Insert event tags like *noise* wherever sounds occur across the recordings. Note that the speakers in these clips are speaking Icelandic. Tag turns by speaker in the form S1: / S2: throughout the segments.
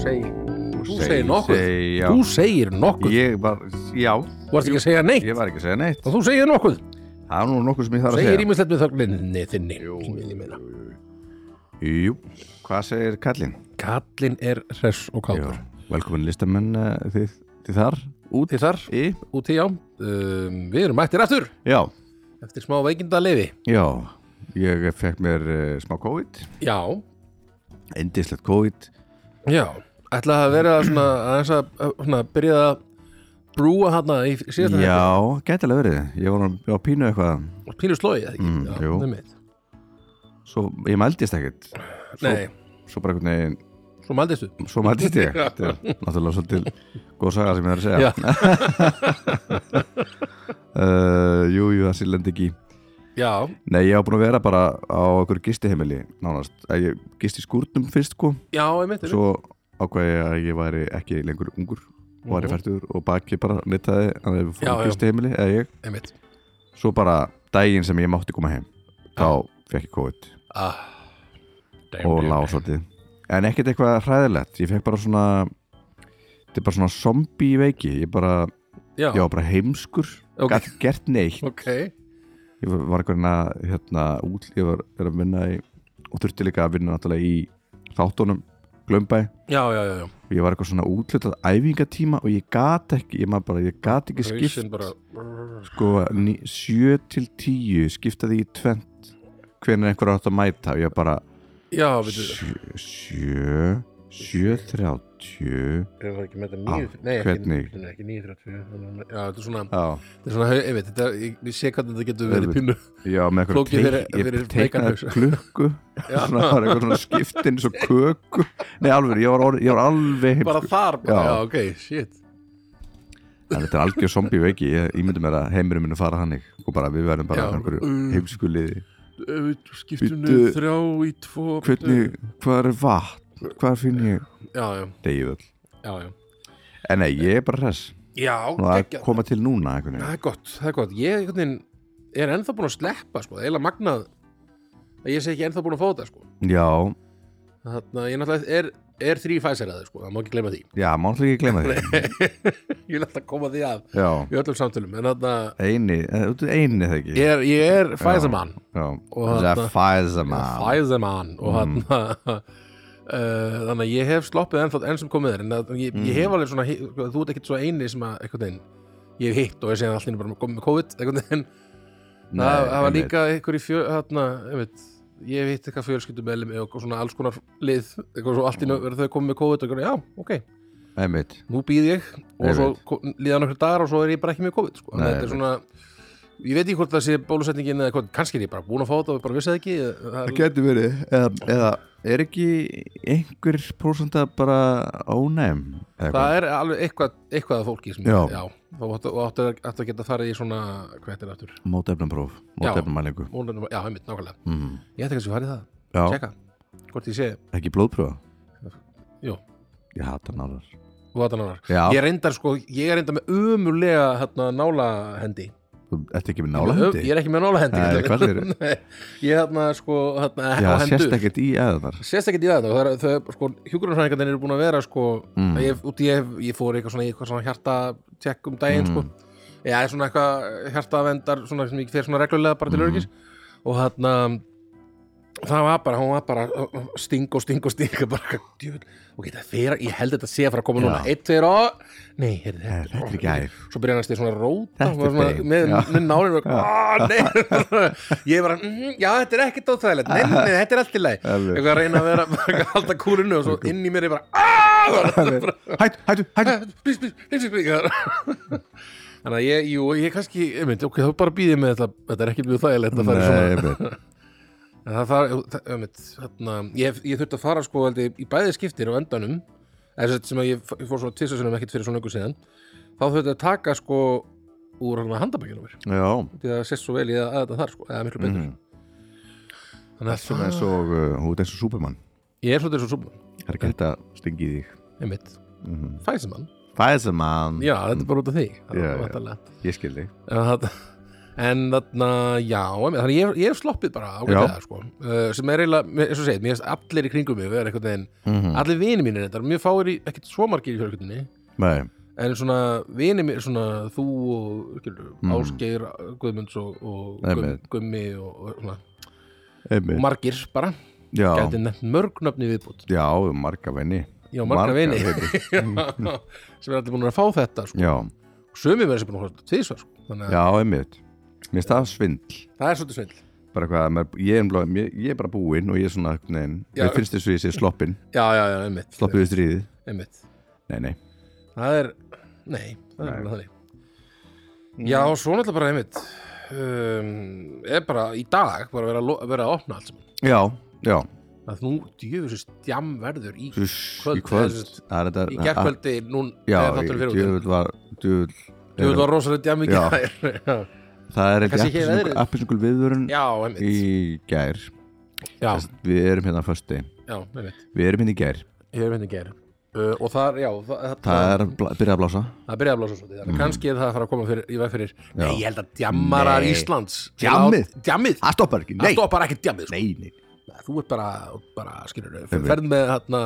S1: segir Þú
S2: segi-
S1: segir nokkuð
S2: segi já.
S1: Þú segir nokkuð
S2: Ég var, já,
S1: Þú varst ekki að segja neitt
S2: ég var ekki að segja neitt
S1: og þú segir nokkuð
S2: Það er nú nokkuð sem ég þarf að
S1: Segir
S2: segja
S1: ímislegt með þögninni þinni
S2: Jú,
S1: sem ég
S2: jú,
S1: meina.
S2: jú, jú. Jú, hvað segir Kallinn?
S1: Kallinn er hress og kátur
S2: Velkomin listamenn uh, þið, þið þar
S1: Úti þar,
S2: í
S1: úti já um, Við erum mættir aftur
S2: Já,
S1: eftir smá veikindaleifi
S2: já, ég fekk mér uh, smá COVID
S1: Já,
S2: Endislegt COVID
S1: já Ætla að vera svona aðeins að svona, byrja að brúa hana í síðasta
S2: Já, gæti alveg verið Ég var nú- ég var að pínu eitthvað
S1: þetta. Pínu slóið, eða ekki?
S2: Mm,
S1: já,
S2: jú.
S1: einmitt.
S2: Svo ég mældist ekkert Svo-
S1: Nei,
S2: Svo bara einhvern veginn
S1: svo maldistu
S2: Svo mældist
S1: *laughs*
S2: ég Þetta er Náttúrulega svolítið góð saga sem ég þarf að segja
S1: Já,
S2: *laughs* uh, Jú, jú, það sé lendi ekki í.
S1: já,
S2: Nei, ég var búin að vera bara á einhverju gistiheimili Nánast, að ég gisti í skúrnum fyrst sko
S1: já, einmitt einmitt.
S2: Svo ákvað ég að ég væri ekki lengur ungur og væri
S1: Mhm.
S2: færtur og baki bara nýttaði að við
S1: Já,
S2: fórum
S1: já.
S2: fyrstu heimili eða ég,
S1: einmitt
S2: svo bara daginn sem ég mátti koma heim þá fekk ég COVID
S1: ah, damn,
S2: og
S1: damn,
S2: lá
S1: damn.
S2: svolítið en ekkert eitthvað hræðilegt, ég fekk bara svona þetta er bara svona zombie veiki ég bara,
S1: Já,
S2: ég var bara heimskur
S1: Ok.
S2: okay. gætt gert neitt
S1: ok
S2: ég var- var einhvern að hérna út, ég var er að vinna í og þurfti líka að vinna náttúrulega í þáttunum, glömbæ
S1: Já, já, já, já
S2: og ég var eitthvað svona útlutað æfingatíma og ég gat ekki, ég maður bara, ég gat ekki skipt
S1: Hausinn bara
S2: sko, ný, 7 til 10 skiptaði ég í tvent hvernig einhver átt að mæta og ég bara
S1: Já, veitu
S2: 7, 7, 30
S1: Er það ekki með þetta
S2: níu-
S1: nýju
S2: Á, nei, ekki- Ah, hvernig?
S1: Ekki, ekki nýju þrjáttfjö Já, þetta er svona
S2: Já,
S1: Þetta er svona, hau- einmitt, þetta er Ég, ég sé hvernig þetta getur verið
S2: Auðvitað.
S1: pínu
S2: já með eitthvað
S1: Flókið fyrir- fyrir
S2: ég teiknaði
S1: veikan haus. *laughs*
S2: klukku svona var eitthvað svona skiptin svo köku, nei alveg, ég var, orð, ég var alveg
S1: Bara
S2: heimskur,
S1: þar bara,
S2: Já.
S1: já, ok, shit
S2: en þetta er algjör zombie veiki ég ímyndi mér að heimurinn minn fara hannig og bara við verðum bara
S1: Já.
S2: einhverju
S1: Mm.
S2: heimskuliði
S1: Ö, Skiptum
S2: Bíddu.
S1: niður þrjá í tvo
S2: hvernig, hvað er vatn hvað finn ég
S1: Já, já,
S2: degið
S1: já, já
S2: en nei, ég er bara hress
S1: Já,
S2: Nú að
S1: geggjað.
S2: koma til núna einhvern veginn.
S1: Það er gott, það er gott. Ég einhvern veginn, er ennþá búin að sleppa, sko, eila magnað að ég sé ekki ennþá búin að fá þetta, sko.
S2: já,
S1: Þannig að ég náttúrulega er, er þrý fæseraði, sko, það má ekki gleyma því.
S2: já, má alltaf ekki glemma því
S1: *laughs* Ég vil alltaf koma því að
S2: já,
S1: í öllum samtölum, en þannig að
S2: eini, eh, þú ert eini það ekki
S1: ég er, ég er fæsermann.
S2: já,
S1: Og
S2: það
S1: þarna-
S2: er fæðsamann
S1: Fæsermann, og hann *laughs* mm. Uh, þannig að ég hef sloppið ennþá enn sem komið er en að, ég, ég hef alveg svona hi- sko, þú ert ekkert svo eini sem að einhvern veginn ég hef hitt og ég sé að allir bara komið með COVID einhvern veginn það það var líka einhver í fjö, þarna, ég veit, ég hef hitt eitthvað fjölskyldum og svona alls konar lið eitthvað svo allt í nöfn verður þau komið með COVID og eitthvað, já, ok,
S2: einmitt,
S1: nú býð ég og
S2: Einmitt.
S1: svo ko- líða nokkru dagar og svo er ég bara ekki með COVID sko. Nei,
S2: Nei,
S1: þetta er
S2: einmitt.
S1: svona ég veit ekki hvort það sé bólusetningin eða hvort, kannski er ég bara búin að fá þetta og ég bara vissi það ekki
S2: það
S1: það,
S2: getur verið eða, eða er ekki einhver prósenta bara ónæm eða eitthvað?
S1: það er alveg eitthvað, eitthvað að fólki sem,
S2: Já.
S1: þá áttu, og áttu, að- áttu að geta farið í svona hvað heitir það aftur?
S2: mótefnapróf,
S1: Já.
S2: mótefnamælingu
S1: Ónefnum- Já, einmitt, nákvæmlega
S2: mm.
S1: Ég ætti kannski að fara í það,
S2: já,
S1: tjekka hvort ég sé,
S2: ekki blóðprófa
S1: jú,
S2: ég hata nálar
S1: þú átt annar
S2: já,
S1: Ég reyndar sko, ég er reyndar með ömulega hérna, nálahendi
S2: þú ert ekki með nálahendi
S1: Ég er ekki með nálahendi
S2: Nei,
S1: hérna.
S2: hvað
S1: *laughs*
S2: segirðu?
S1: Nei, Ég er hérna sko hérna,
S2: já,
S1: á hendur.
S2: sérst ekkert í eðanar
S1: Sést ekkert í þetta Það er, þau, sko, hjúgrunarfræðingarnir eru búin að vera sko
S2: Mm.
S1: ég, út, í- ég, ég fór eitthvað svona, í eitthvað svona hjarta tjekk um daginn
S2: Mm.
S1: sko Já, ég er svona eitthvað hjartavendar svona, sem ég fer svona reglulega bara til
S2: Mm.
S1: örgis og hérna það var bara, hún var bara sting og sting og sting bara, djöfull, ok, það fer, ég held þetta sé að fara að koma
S2: Já.
S1: núna, eitt, tveir og nei, heyrðu,
S2: Eh, þetta er ekki æf
S1: svo byrjaði hann að stið svona að róta
S2: Þetta
S1: hún var
S2: er
S1: svona,
S2: bein,
S1: með,
S2: já.
S1: með nálinu "Ah,
S2: *laughs*
S1: ég var að, mm, já þetta er ekkert óþægilegt nei, nei, nei, þetta er allt í lagi
S2: Alveg.
S1: eitthvað að reyna að vera, bara að halda kúrinu og svo inn í mér er bara "Ah!"
S2: hættu, hættu,
S1: *laughs*
S2: hættu
S1: Please, please, please, please, please. *laughs* þannig að ég, jú, ég kannski einmitt, ok, þá bara býðið með þetta þetta er ekkert mjög þægilegt að fara í svona
S2: Nei, einmitt.
S1: En það þar, það, einmitt, þarna, ég, ég þurfti að fara sko held ég, í bæði skiptir á endanum eða sem sagt sem að ég, f- ég fór svona tvisar ekkert fyrir svona yngur síðan þá þurfti að taka sko úr hann að handabækjunum mér
S2: já,
S1: því það sést svo vel ég að þetta þar sko eða miklu betur
S2: Mhm.
S1: þannig að
S2: Svona eins og, uh, hún er eins og Superman
S1: ég er svolítið svo súpa
S2: Það er ekki hægt að stingi í þig
S1: einmitt,
S2: mm -hmm.
S1: fæsimann
S2: Fæðsamann
S1: já, þetta er bara út af því
S2: Já, já.
S1: yeah,
S2: Ég skil þig
S1: en það en þarna, já, einmitt, þannig ég, ég hef sloppið bara ágætlega, sko uh, sem er eiginlega, mér- eins og segið, mér finnst allir í kringum mig vera einhvern veginn,
S2: Mhm.
S1: allir vini mínir þetta, mjög fáir í, ekkert svo margir í fjölkjöldinni
S2: Nei,
S1: en svona vini mér, svona þú og skilur,
S2: Mm.
S1: Ásgeir Guðmunds og, og Gum,
S2: Einmitt.
S1: Gummi og, og, svona, og
S2: einmitt
S1: margir bara,
S2: Já,
S1: gæti nefnt mörg nöfni viðbútt,
S2: já, marga venni
S1: já, marga,
S2: Marga
S1: vini *laughs*
S2: vini.
S1: sem er allir búin að fá þetta, sko
S2: Já,
S1: sumir verður sem búin að hósta tvísvar, sko þannig að
S2: já, einmitt Mér finnst það svindl
S1: það er svolítið svindl
S2: bara hvað, maður, ég, er, blá- ég, ég er bara búinn og ég er svona, nein,
S1: Já.
S2: mér finnst þess að ég sé sloppin,
S1: já, já, já, einmitt,
S2: sloppið við stríðið
S1: einmitt.
S2: nei, nei,
S1: það er, nei, það er
S2: Nei. Mm.
S1: bara þannig já, svo náttúrulega bara einmitt um, er bara í dag bara verið að, lo- verið að opna allt saman
S2: já, já
S1: að nú djöfus stjam verður í,
S2: Uss,
S1: Kvöld,
S2: í kvöld
S1: eða sem sagt,
S2: Það er þetta-
S1: í gerkvöldi nú,
S2: já,
S1: eða þáttur fyrir út
S2: djöfull var djöfull,
S1: djöfus var rosalega djam í
S2: Já.
S1: gær *laughs* já,
S2: það er
S1: Kannski ekki veðrið.
S2: appisungul viðvörun
S1: já, einmitt
S2: í gær
S1: já,
S2: Þess- við erum hérna fösti
S1: já, einmitt
S2: við erum hérna í gær,
S1: ég hef einnig gær uh, og það, já, það,
S2: það er að bla- byrja að blása
S1: það byrjaði að blása svolítið þannig mm. kannski er það að fara að koma fyrir, í veg fyrir nei, ég held að djammarar
S2: Nei.
S1: Íslands
S2: Djammið?
S1: djammið,
S2: það stoppar ekki,
S1: það stoppar ekki djammið sko.
S2: nei, nei.
S1: þú ert bara, bara skilur
S2: Einmitt.
S1: ferð með hérna,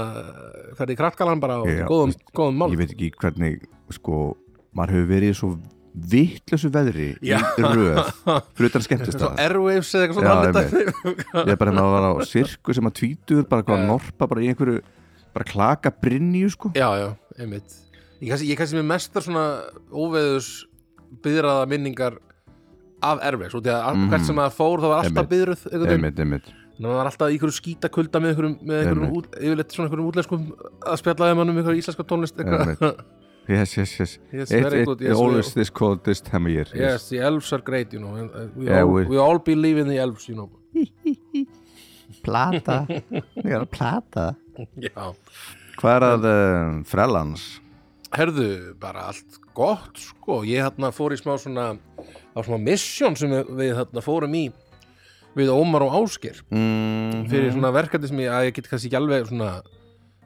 S1: ferð í krakkalan bara og
S2: Já,
S1: góðum, góðum mál
S2: ég veit ekki hvernig sko, maður hefur verið í svo vittlösu veðri
S1: Já.
S2: í röð
S1: *laughs*
S2: fyrir utan skemmtist
S1: svo airwaves eða
S2: Já,
S1: eitthvað svona
S2: ég er bara hérna að vara á sirku sem að tvítur bara hvað norpa bara í einhverju bara klaka brinju sko
S1: *laughs* já, já, einmitt ég kannski, ég kannski með mestar svona óveðus byðraða minningar af airwaves, út í að mm. hvert sem að fór það var alltaf
S2: Mhm. Einmitt.
S1: byðruð einhvern veginn
S2: einmitt, einmitt
S1: Þannig að það var alltaf í einhverju skítakulda með einhverjum, með einhverjum
S2: Einmitt.
S1: út, yfirleitt svona einhverjum útlenskum að spjallaði mann um einhverju íslenska tónlist eitthvað.
S2: Einmitt. Yes, yes, yes.
S1: Yes,
S2: it,
S1: very
S2: it,
S1: good, yes,
S2: always
S1: very-
S2: this cold this time of
S1: *laughs*
S2: year.
S1: Yes, the elves are great, you know. and, uh, We,
S2: Yeah,
S1: all,
S2: we-
S1: we all believe in the elves, you know. *laughs*
S2: Plata. Ég er að plata.
S1: Já.
S2: Hvað er að uh, frelans?
S1: Herðu, bara allt gott, sko. Ég hérna fór í smá svona, á svona mission sem við, við hérna fórum í við Ómar og Ásker
S2: Mm,
S1: fyrir svona verkefni sem ég, að ég get kannski ekki alveg svona,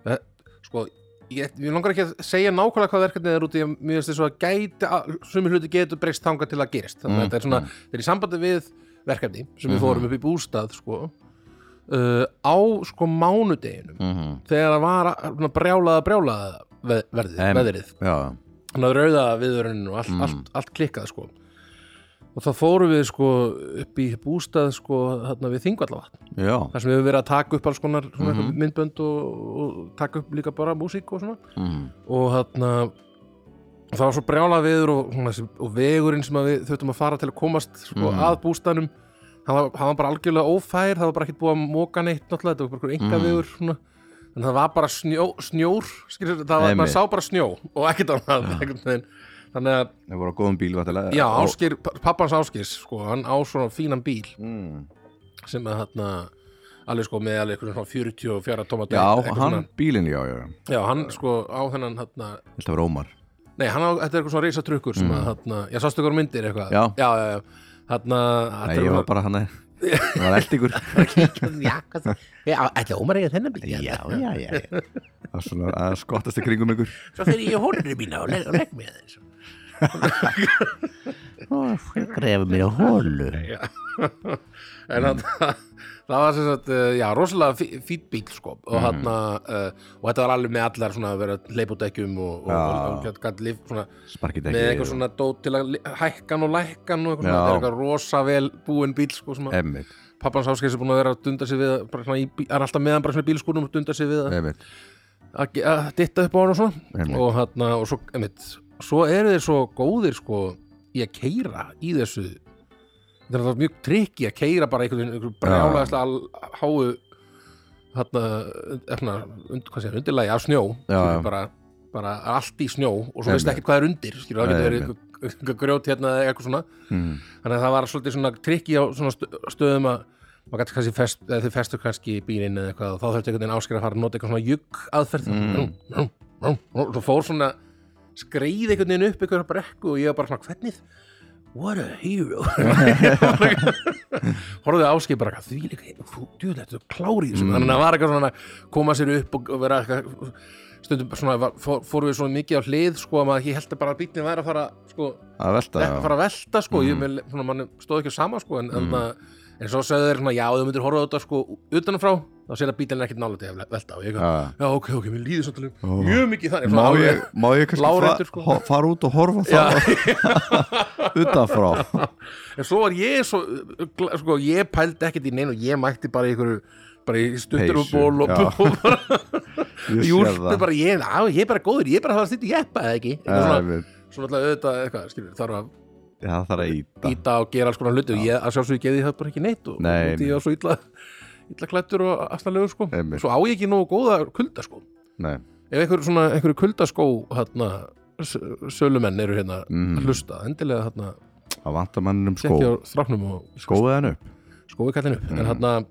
S1: eh, sko, ég, ég langar ekki að segja nákvæmlega hvað verkefnið er út í að mér finnst þess að gæti að sumi hluti getur breyst þangað til að gerist þannig að þetta er svona, þetta er í sambandi við verkefni sem við fórum upp í bústað sko, uh, á sko mánudeginum
S2: Mhm.
S1: þegar það var að- svona brjálaða brjálaða veð, verðið,
S2: Em.
S1: veðrið
S2: Já.
S1: þannig að rauða viðurinn og allt, allt, allt klikkað sko og þá fórum við sko upp í bústað sko þarna við þingvallavatn
S2: Já.
S1: þar sem við höfum verið að taka upp alls konar svona mm myndbönd og, og taka upp líka bara músík og svona
S2: Mm.
S1: og þarna það var svo brjála viður og, svona, þessi- og vegurinn sem að við þurftum að fara til að komast sko,
S2: Mm.
S1: að bústanum hann var, hann var bara algjörlega ófær það var bara ekkert búið að móka neitt náttúrulega þetta var
S2: Mm.
S1: bara einhver enga vegur svona. en það var bara snjó, snjór skilur, það var,
S2: Einmitt.
S1: maður sá bara snjó og ekkert annað einhvern veginn. þannig að,
S2: Það voru á góðum bíl vatnilega.
S1: já, áskir, pappans áskis sko, hann á svona fínan bíl
S2: Mm.
S1: sem að hann alveg sko með alveg einhvern svona 44 tomat
S2: Já,
S1: eitthvað
S2: hann
S1: svona,
S2: bílinn, já, já.
S1: já, hann sko á þennan hann
S2: Þetta var Ómar.
S1: Nei, hann á, þetta er eitthvað svona reysatrukkur sem að, þarna, já, sástu ykkur myndir eitthvað
S2: Mm. Já.
S1: já, já, já. Þarna,
S2: Nei, ég var bara hann
S1: *laughs*
S2: að... Það var eldingur.
S1: Já, ætla ómar eiga þennan bíl
S2: já, já, já. Það var svona að skottast í kringum ykkur.
S1: Svo fyrir ég hónurinn mína og legg, legg mig aðeins
S2: Grefa mig á hólu.
S1: En
S2: Mm.
S1: hann, það var sem sagt, uh, já, rosalega fí- fínn bíl, sko
S2: Mm.
S1: Og hann, uh, og þetta var alveg með allar svona að vera leipútekjum og, og,
S2: Já.
S1: og, og gætt gætt lif svona
S2: Sparkið ekki.
S1: með eitthvað svona dót til að li- hækkan og lækkan og eitthvað svona,
S2: Já.
S1: þetta er eitthvað rosa vel búin bíl, sko, sem að
S2: Einmitt,
S1: pappans áskeiðs er búin að vera að dunda sig við að- bara svona í, bí- hann er alltaf með hann bara svona í bílskúrum og dunda sig við að,
S2: einmitt.
S1: að, ge- að ditta upp á hann og svona
S2: Einmitt.
S1: og, hana, og svo, einmitt, svo eru þeir svo góðir sko í að keira í þessu þetta er það mjög trikki að keira bara einhvern veginn einhver brjálaðislega háu þarna, efna, und, hvað segir, undirlægi af snjó
S2: Já,
S1: skilur,
S2: já.
S1: bara, bara allt í snjó og svo veist
S2: Einmitt.
S1: ekki hvað er undir skilur, það
S2: Nei,
S1: getur verið einhver- einhver grjót hérna eða eitthvað svona
S2: Mm.
S1: þannig að það var svolítið svona trikki á svona stö- stöðum að maður gæti kannski fest, eða þið festu kannski í bílinn eða eitthvað og þá þurfti einhvern veginn ásker að fara að nota eitthvað svona jugg aðferð mm. og þú fór svona skreið einhvern veginn upp einhverja brekku og ég var bara svona hvernig what a hero horfðu áskip bara eitthvað, því líka þú djúlega, þetta er klárið mm. þannig að það var eitthvað svona að koma sér upp og vera eitthvað stundum svona, var- fór, fórum við svona mikið á hlið sko að maður ég held að bara bílinn væri að fara sko,
S2: að velta Mm.
S1: að fara að velta sko ég, með, svona, mann stóð ekki sama sko en, mm. en, að, en svo sögðu þeir svona já þau myndir horfa á þetta sko utanfrá þá sér að bílinn er ekkert nálægt að velta og ég
S2: Já.
S1: já. já ok ok, mér líður svolítið
S2: Ó.
S1: mjög mikið þannig
S2: má,
S1: svona alveg-
S2: ég, má ég kannski
S1: láréttur,
S2: fa
S1: sko.
S2: ho- fara út og horfa
S1: Já. *laughs*
S2: það utanfrá
S1: en svo var ég svo, uh, gla- sko, ég pældi ekkert í neinu ég mætti bara í einhverju bara í stuttur og
S2: Peysu,
S1: ból
S2: já.
S1: og og bara
S2: *laughs* Ég sé
S1: júltu
S2: það.
S1: bara ég, á, ég er bara góður, ég er bara að fara að stýta jeppa eða ekki,
S2: Já,
S1: Eitthvað svona,
S2: einmitt.
S1: svona alltaf auðvitað eitthvað, skilur, þarf að
S2: Já, það þarf að íta
S1: íta og gera alls konar hluti og ég að sjálfsög ég geði það bara ekki neitt og
S2: Nei,
S1: út í
S2: nei.
S1: ég var svo illa, illa klættur og aftalegu sko,
S2: Einmitt.
S1: svo á ég ekki nógu góða kulda sko,
S2: Nei,
S1: ef einhver svona einhverju kuldaskó hérna, s- sölumenn eru hérna
S2: Mm.
S1: að hlusta, endilega hérna
S2: það vantar mannum skó Mhm.
S1: tekja á þráknum og
S2: Skóið hann upp,
S1: skói kallinu en hérna,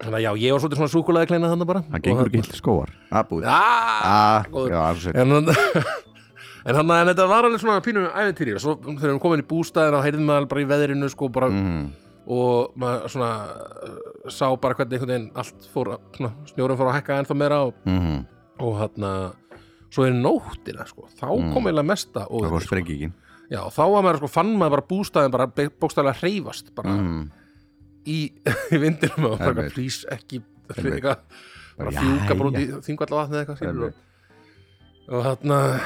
S1: hérna já, ég var svolítið svona súkulega kleina þannig bara
S2: hann gengur ekki hildi skóar Að búið
S1: ah,
S2: Ah,
S1: góður.
S2: Já, alls eitt
S1: en hann *laughs* En hann en þetta var alveg svona pínum æventýri og svo þegar við komin í bústæðin og heyrðum maður bara í veðrinu sko bara
S2: Mm.
S1: og maður svona uh, sá bara hvernig einhvern veginn allt fór að- svona, snjórun fór að hækka ennþá meira og,
S2: Mhm.
S1: og hann svo er nóttina sko, þá kom eiginlega mesta og,
S2: Mm. Það var sprengingin
S1: já, þá var maður sko, fann maður bara bústæðin bara bókstæðlega hreyfast bara
S2: mm.
S1: í, *laughs* í vindinum og bara
S2: Einmitt.
S1: eitthvað, please ekki
S2: Einmitt.
S1: eitthvað, bara
S2: Já,
S1: fjúka bara út í
S2: já.
S1: þingvallavatni eða eitthvað skilur og, og þarna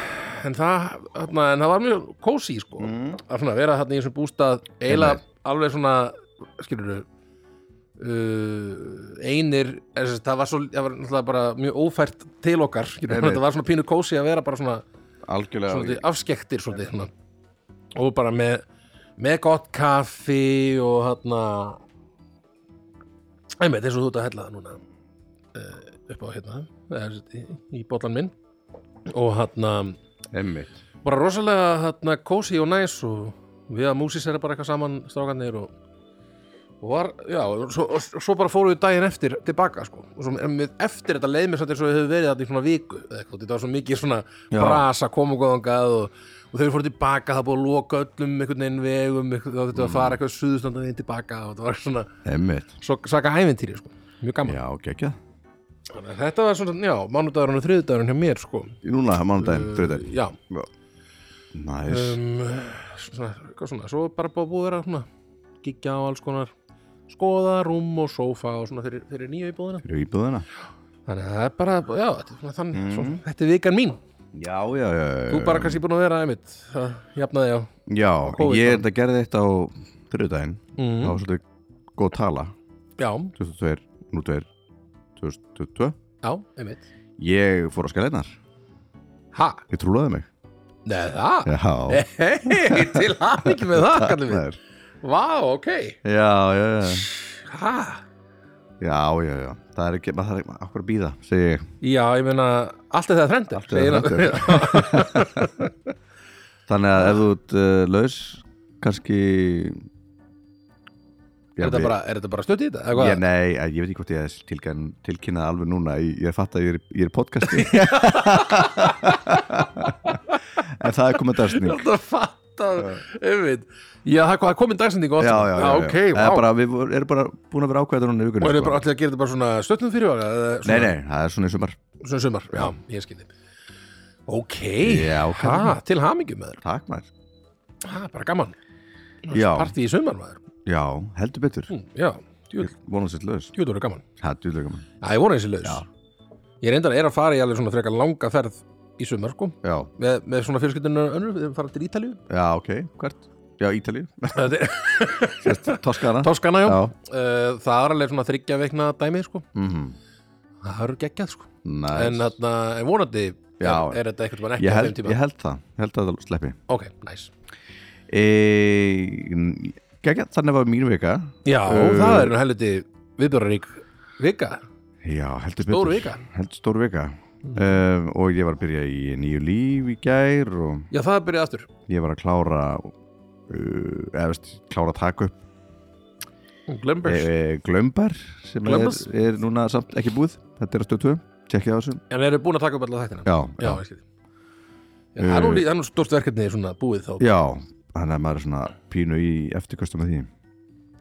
S1: en það, þarna, en það var mjög kósi sko,
S2: Mm.
S1: að svona vera þarna í þessum bústað eiginlega
S2: Einmitt.
S1: alveg svona skilur Uh, einir er, þess, það var svo, það var náttúrulega bara mjög ófært til okkar, skilur,
S2: Einmitt.
S1: þetta var svona pínu kósi að vera bara svona, svona
S2: Algjörlega
S1: afskektir svona, svona, og bara með með gott kaffi og þarna einmitt eins og þú ert að hella það núna uh, upp á hérna eða, sem sagt, í, í bollan minn og hérna, þarna
S2: Einmitt
S1: bara rosalega þarna kósi og næs og við að músis er bara eitthvað saman strákanir og, og var, já, og svo, og svo bara fórum við daginn eftir tilbaka sko og svo, em, við, eftir þetta leið mér satt eins og við höfum verið þetta í svona viku eða eitthvað, þetta var svo mikið svona
S2: Já.
S1: brasa kom og góðangað og, og þegar við fórum tilbaka það búið að loka öllum einhvern veginn vegum eitthvað, það þetta
S2: Mm.
S1: var að fara eitthvað suðustöndan veginn tilbaka og þetta var svona,
S2: Einmitt
S1: svo saka æventýri sko, mjög gaman
S2: Já, geggjað
S1: Þannig að þetta var svona, já, mánudagurinn og þriðudagurinn hjá mér sko,
S2: Núna, mánudaginn, þriðdaginn
S1: já
S2: Næs
S1: Uh, um, svona, eitthvað svona, svo er bara búið að vera svona, gigja á alls konar skoða, rúm og sófa og svona fyrir, fyrir nýju íbúðina
S2: Fyrir íbúðina
S1: þannig að það er bara, já, þetta er svona þann svona, þetta er vikan mín,
S2: Já, já, Mhm. já
S1: þú bara kannski búin að vera einmitt, það jafnaði á Mhm.
S2: Já,
S1: COVID, já.
S2: ég er þetta gerði þetta á þriðdaginn Það var svolítið góð tala
S1: já,
S2: 2002, nú 2 2022
S1: já, einmitt
S2: Ég fór á skæleinar
S1: ha,
S2: Ég trúlaði mig
S1: neða það *laughs*
S2: Já,
S1: hei, til hann ekki með það, kallum við
S2: maður.
S1: vá, ok,
S2: já, já, já
S1: ha
S2: Já, já, já Það er ekki, maður þarf ekki Akkur að býða, segi ég
S1: já, ég meina, allt er það þrendir
S2: Allt er það
S1: *laughs*
S2: Þannig að ef þú ert uh, laus kannski
S1: er þetta
S2: við-
S1: bara, er þetta bara stutt í þetta, eða
S2: Ég,
S1: hvað
S2: nei, eh, ég veit ekki hvort ég tilkyn, tilkynna alveg núna Ég, ég fatt að ég er, ég er í
S1: *laughs*
S2: podcasti En það er komið
S1: Ég
S2: dagsning
S1: ætla að fatta einmitt. Já, það það er komin dagsending
S2: Já, já, já, já.
S1: ok,
S2: Það er
S1: vá
S2: bara, Við vor- erum bara búin að vera ákveða núna í
S1: Og
S2: vikunni
S1: erum
S2: sko.
S1: bara allir að gera þetta bara svona stöttum fyrirvara eða
S2: Nei,
S1: svona,
S2: nei, það er svona í sumar
S1: svona sumar, já, ég skilji Ok,
S2: Já,
S1: ha,
S2: kannski.
S1: til hamingjum með þér
S2: Takk maður
S1: ha, bara gaman,
S2: Já,
S1: partí í sumar maður
S2: já, heldur betur
S1: hm, Já, djúl,
S2: Vonum sér laus
S1: djúl eru gaman
S2: Það er djúlega mann
S1: Já, ég voru eins og laus
S2: Já.
S1: Ég reyndar er að fara í alveg svona frekar langa ferð í sumar, sko
S2: Já,
S1: með, með svona fjölskyldinu önnur, við erum að fara til
S2: *laughs*
S1: Ítalíu
S2: já, ok, hvert? Já, Ítalíu
S1: Þetta er-
S2: Toskana
S1: Toskana, já, já.
S2: Já,
S1: Það er alveg svona þryggja veikna dæmi, sko
S2: mhm,
S1: Það eru geggjað, sko
S2: næs
S1: en, þarna, en vonandi
S2: Já.
S1: er, er þetta eitthvað ekki
S2: Ég
S1: á
S2: held,
S1: þeim tíma
S2: ég held það, held að það sleppi
S1: ok, næs
S2: e, geggjað, Þannig var mín vika
S1: já,
S2: Uh,
S1: það er nú helviti viðbjörnarík vika,
S2: Já, heldur
S1: stór
S2: betur
S1: vika Mm.
S2: Heldur stór vika um, Og ég var að byrja í nýju líf í gær Og
S1: já, það byrjaði aftur
S2: ég var að klára uh, Eða veist, klára að taka upp e,
S1: Glömbers,
S2: e, Glömbar Sem er,
S1: Glaumbars?
S2: er núna samt ekki búið Þetta er að stötu, tjekkið á þessu
S1: en eru búin að taka upp alla þættina
S2: Já,
S1: já,
S2: já,
S1: ég skil Já, það er nú
S2: Uh,
S1: lí- það er nú stórt verkefni svona búið þá
S2: já Þannig að maður er svona pínu í eftirkostum að því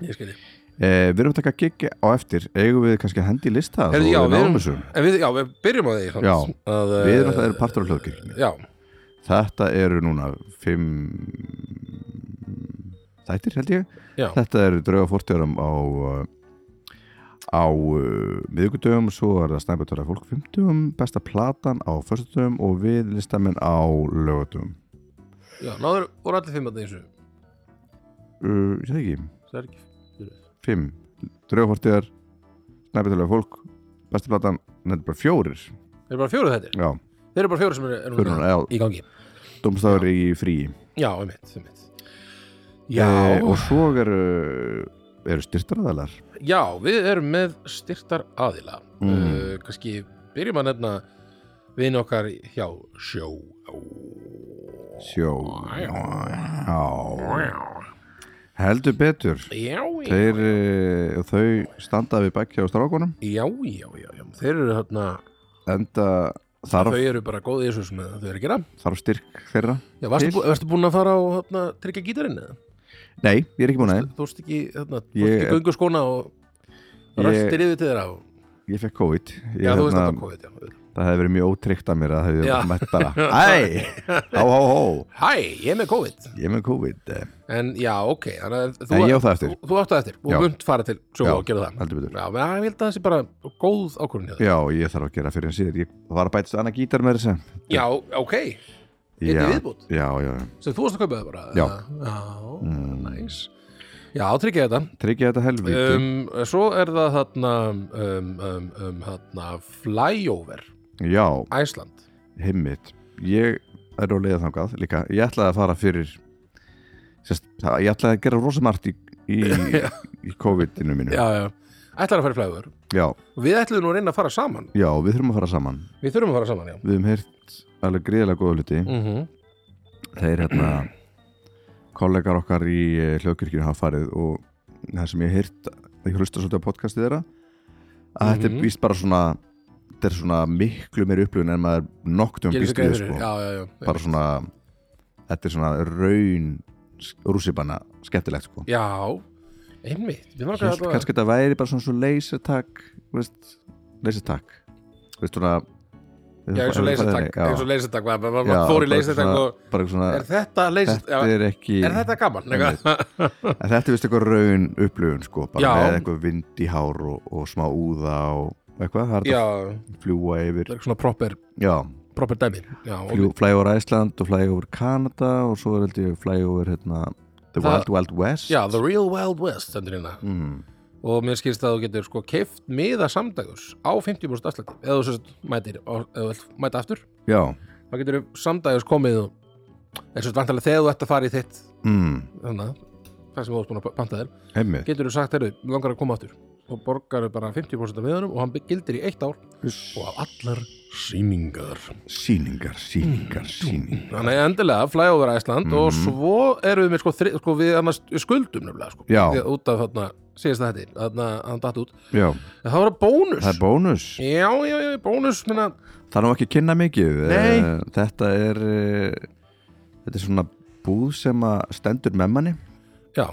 S1: ég skilji
S2: Eh, við erum að taka gigi á eftir eigum við kannski að hendi í lista
S1: Heyrðu,
S2: svo
S1: já,
S2: við
S1: við
S2: náum
S1: erum-
S2: þessu
S1: En við, já, við byrjum á því samt,
S2: Já.
S1: að,
S2: við
S1: eh,
S2: erum alltaf partur af hlöðkirkjunni
S1: Já,
S2: þetta eru núna fimm þættir held ég
S1: já,
S2: þetta eru drauga fórtjörum á uh, á uh, miðvikudögum, svo er það snæbjötara fólk 50, besta platan á föstudögum og við listamenn á lögutum
S1: já, náður voru allir fimm að þessu
S2: uh, ég veit ekki,
S1: Það er ekki
S2: fimm drauga fórtjöðar, snæbjötara fólk besta platan, nefnir bara fjórir
S1: Þeir eru bara fjóru þetta
S2: já,
S1: Þeir eru bara fjóru sem eru er
S2: fjórir, já,
S1: í gangi
S2: domstafur í fríi
S1: Já, einmitt, einmitt Já,
S2: Eh, og svo eru, eru styrtaraðalar
S1: já, við erum með styrtar aðila
S2: Mm.
S1: mm. Kannski byrjum að nefna vin okkar hjá sjó
S2: sjó já. heldur betur
S1: Já, já,
S2: þeir eh, og þau standa við bækja á strákunum
S1: já, já, já, já. Þeir eru þarna
S2: enda þarf,
S1: Þau eru bara góð í þessu sem þau eru að gera
S2: þarf styrk þeirra
S1: Já, varstu,
S2: Til.
S1: bú, varstu búin að fara og hérna, tryggja gítarinn eða?
S2: nei, ég er ekki búin að
S1: Þú veist ekki, hérna, þú
S2: Ég-
S1: veist ekki göngu skóna og
S2: Ég-
S1: ræstir yfir til þeirra og,
S2: þeim ég fekk COVID ég,
S1: Já, þú veist
S2: hérna,
S1: að það COVID, já
S2: það hefði verið mjög ótryggt að mér að það hefði
S1: Já.
S2: bara mætt
S1: *laughs*
S2: bara æ, hó hó hó
S1: Hæ, ég er með COVID
S2: ég er með COVID eh,
S1: En já, ok, þannig að þú
S2: En ég á það eftir.
S1: Þú, þú átt það eftir,
S2: Já.
S1: og vund fara til sjó
S2: Já.
S1: og gera það
S2: heldur betur
S1: Já, menn ég held að það sé bara góð ákvörðin hjá þér
S2: já, ég þarf að gera fyrir en síðan ég var að bæta annað gítar með þess
S1: Já, ok,
S2: já,
S1: einnig viðbútt
S2: já, já, já.
S1: Sem þú varst að kaupa það bara
S2: Já.
S1: eða? Já,
S2: Mm.
S1: næs Já, tryggja þetta
S2: tryggja þetta helviti
S1: um, Svo er það þarna um, um, um, þarna flyover
S2: já,
S1: Æsland
S2: heimitt ég er á leiða þangað líka ég ætlaði að fara fyrir sérst, það- ég ætlaði að gera rosa margt í,
S1: *laughs*
S2: í, í COVID-inu mínu já.
S1: já, já. ætlar að fara í flægur
S2: já,
S1: við ætlum nú að reyna að fara saman
S2: við þurfum að fara saman
S1: við þurfum að fara saman, já
S2: við hefum heyrt alveg gríðilega góða hluti
S1: mm -hmm.
S2: þeir hérna kollegar okkar í eh, hljóðkirkjunni hafa farið og það sem ég hef heyrt ég hlusta svolítið á podcastið þeirra að þetta
S1: Mhm.
S2: er víst bara svona þetta er svona miklu meiri upplifun en maður noktum
S1: gerir
S2: býst
S1: sér greið
S2: við
S1: fyrir
S2: sko.
S1: já, já, já,
S2: bara svona þetta er svona raun rússipanna skemmtilegt sko
S1: já, einmitt við
S2: Hélt
S1: langar að
S2: kannski þetta væri bara svona svo leysertak veist, leysertak veist svona
S1: Já, eins og leysertak,
S2: Já,
S1: eins og leysertak, maður maður-
S2: Já,
S1: maður fór í
S2: bara
S1: leysertak
S2: svona-
S1: og
S2: bara svona,
S1: er þetta leysert,
S2: þetta
S1: já,
S2: er ekki
S1: er þetta gaman? eitthvað?
S2: en þetta er vist eitthvað raun upplöfun sko, bara
S1: Já.
S2: með eitthvað vind í hár og, og smá úða og eitthvað, það
S1: *laughs*
S2: er
S1: Já,
S2: þetta að fljúa yfir
S1: það er svona proper,
S2: já,
S1: proper dæmi Já, og
S2: fljú, flæg over Æsland og flæg over Kanada og svo er held ég flæg over hérna,
S1: Það-
S2: The Wild Wild West
S1: já, The Real Wild West stendur hérna
S2: mm.
S1: og mér skilst að þú getur sko keift miða samdagus á 50% afslætti eða þú sérst mætir, á- ef þú vilt mæta aftur
S2: Já
S1: þá getur þú samdægis komið og eins og vantarlega þegar þú ert að fara í þitt
S2: mm,
S1: þannig að það sem þú ert búin að panta þér
S2: Einmitt
S1: getur þú sagt, heyrðu, mig langar að koma aftur og borgar bara 50% af miðanum og hann gildir í eitt ár og af allar sýningar
S2: Sýningar,
S1: Mm.
S2: sýningar, sýningar
S1: þannig að endilega flyover Æsland
S2: Mhm.
S1: og svo erum við með sko, þri, sko við annars við skuldum nefnilega sko
S2: Já.
S1: Því að út af þarna, síðast þetta þarna hann datt út
S2: Já,
S1: en það var bónus
S2: það er bónus
S1: já, já, já, bónus minna,
S2: Það er nú ekki að kynna mikið
S1: Nei.
S2: Eh, Þetta er eh, Þetta er svona búð sem að stendur með manni
S1: já,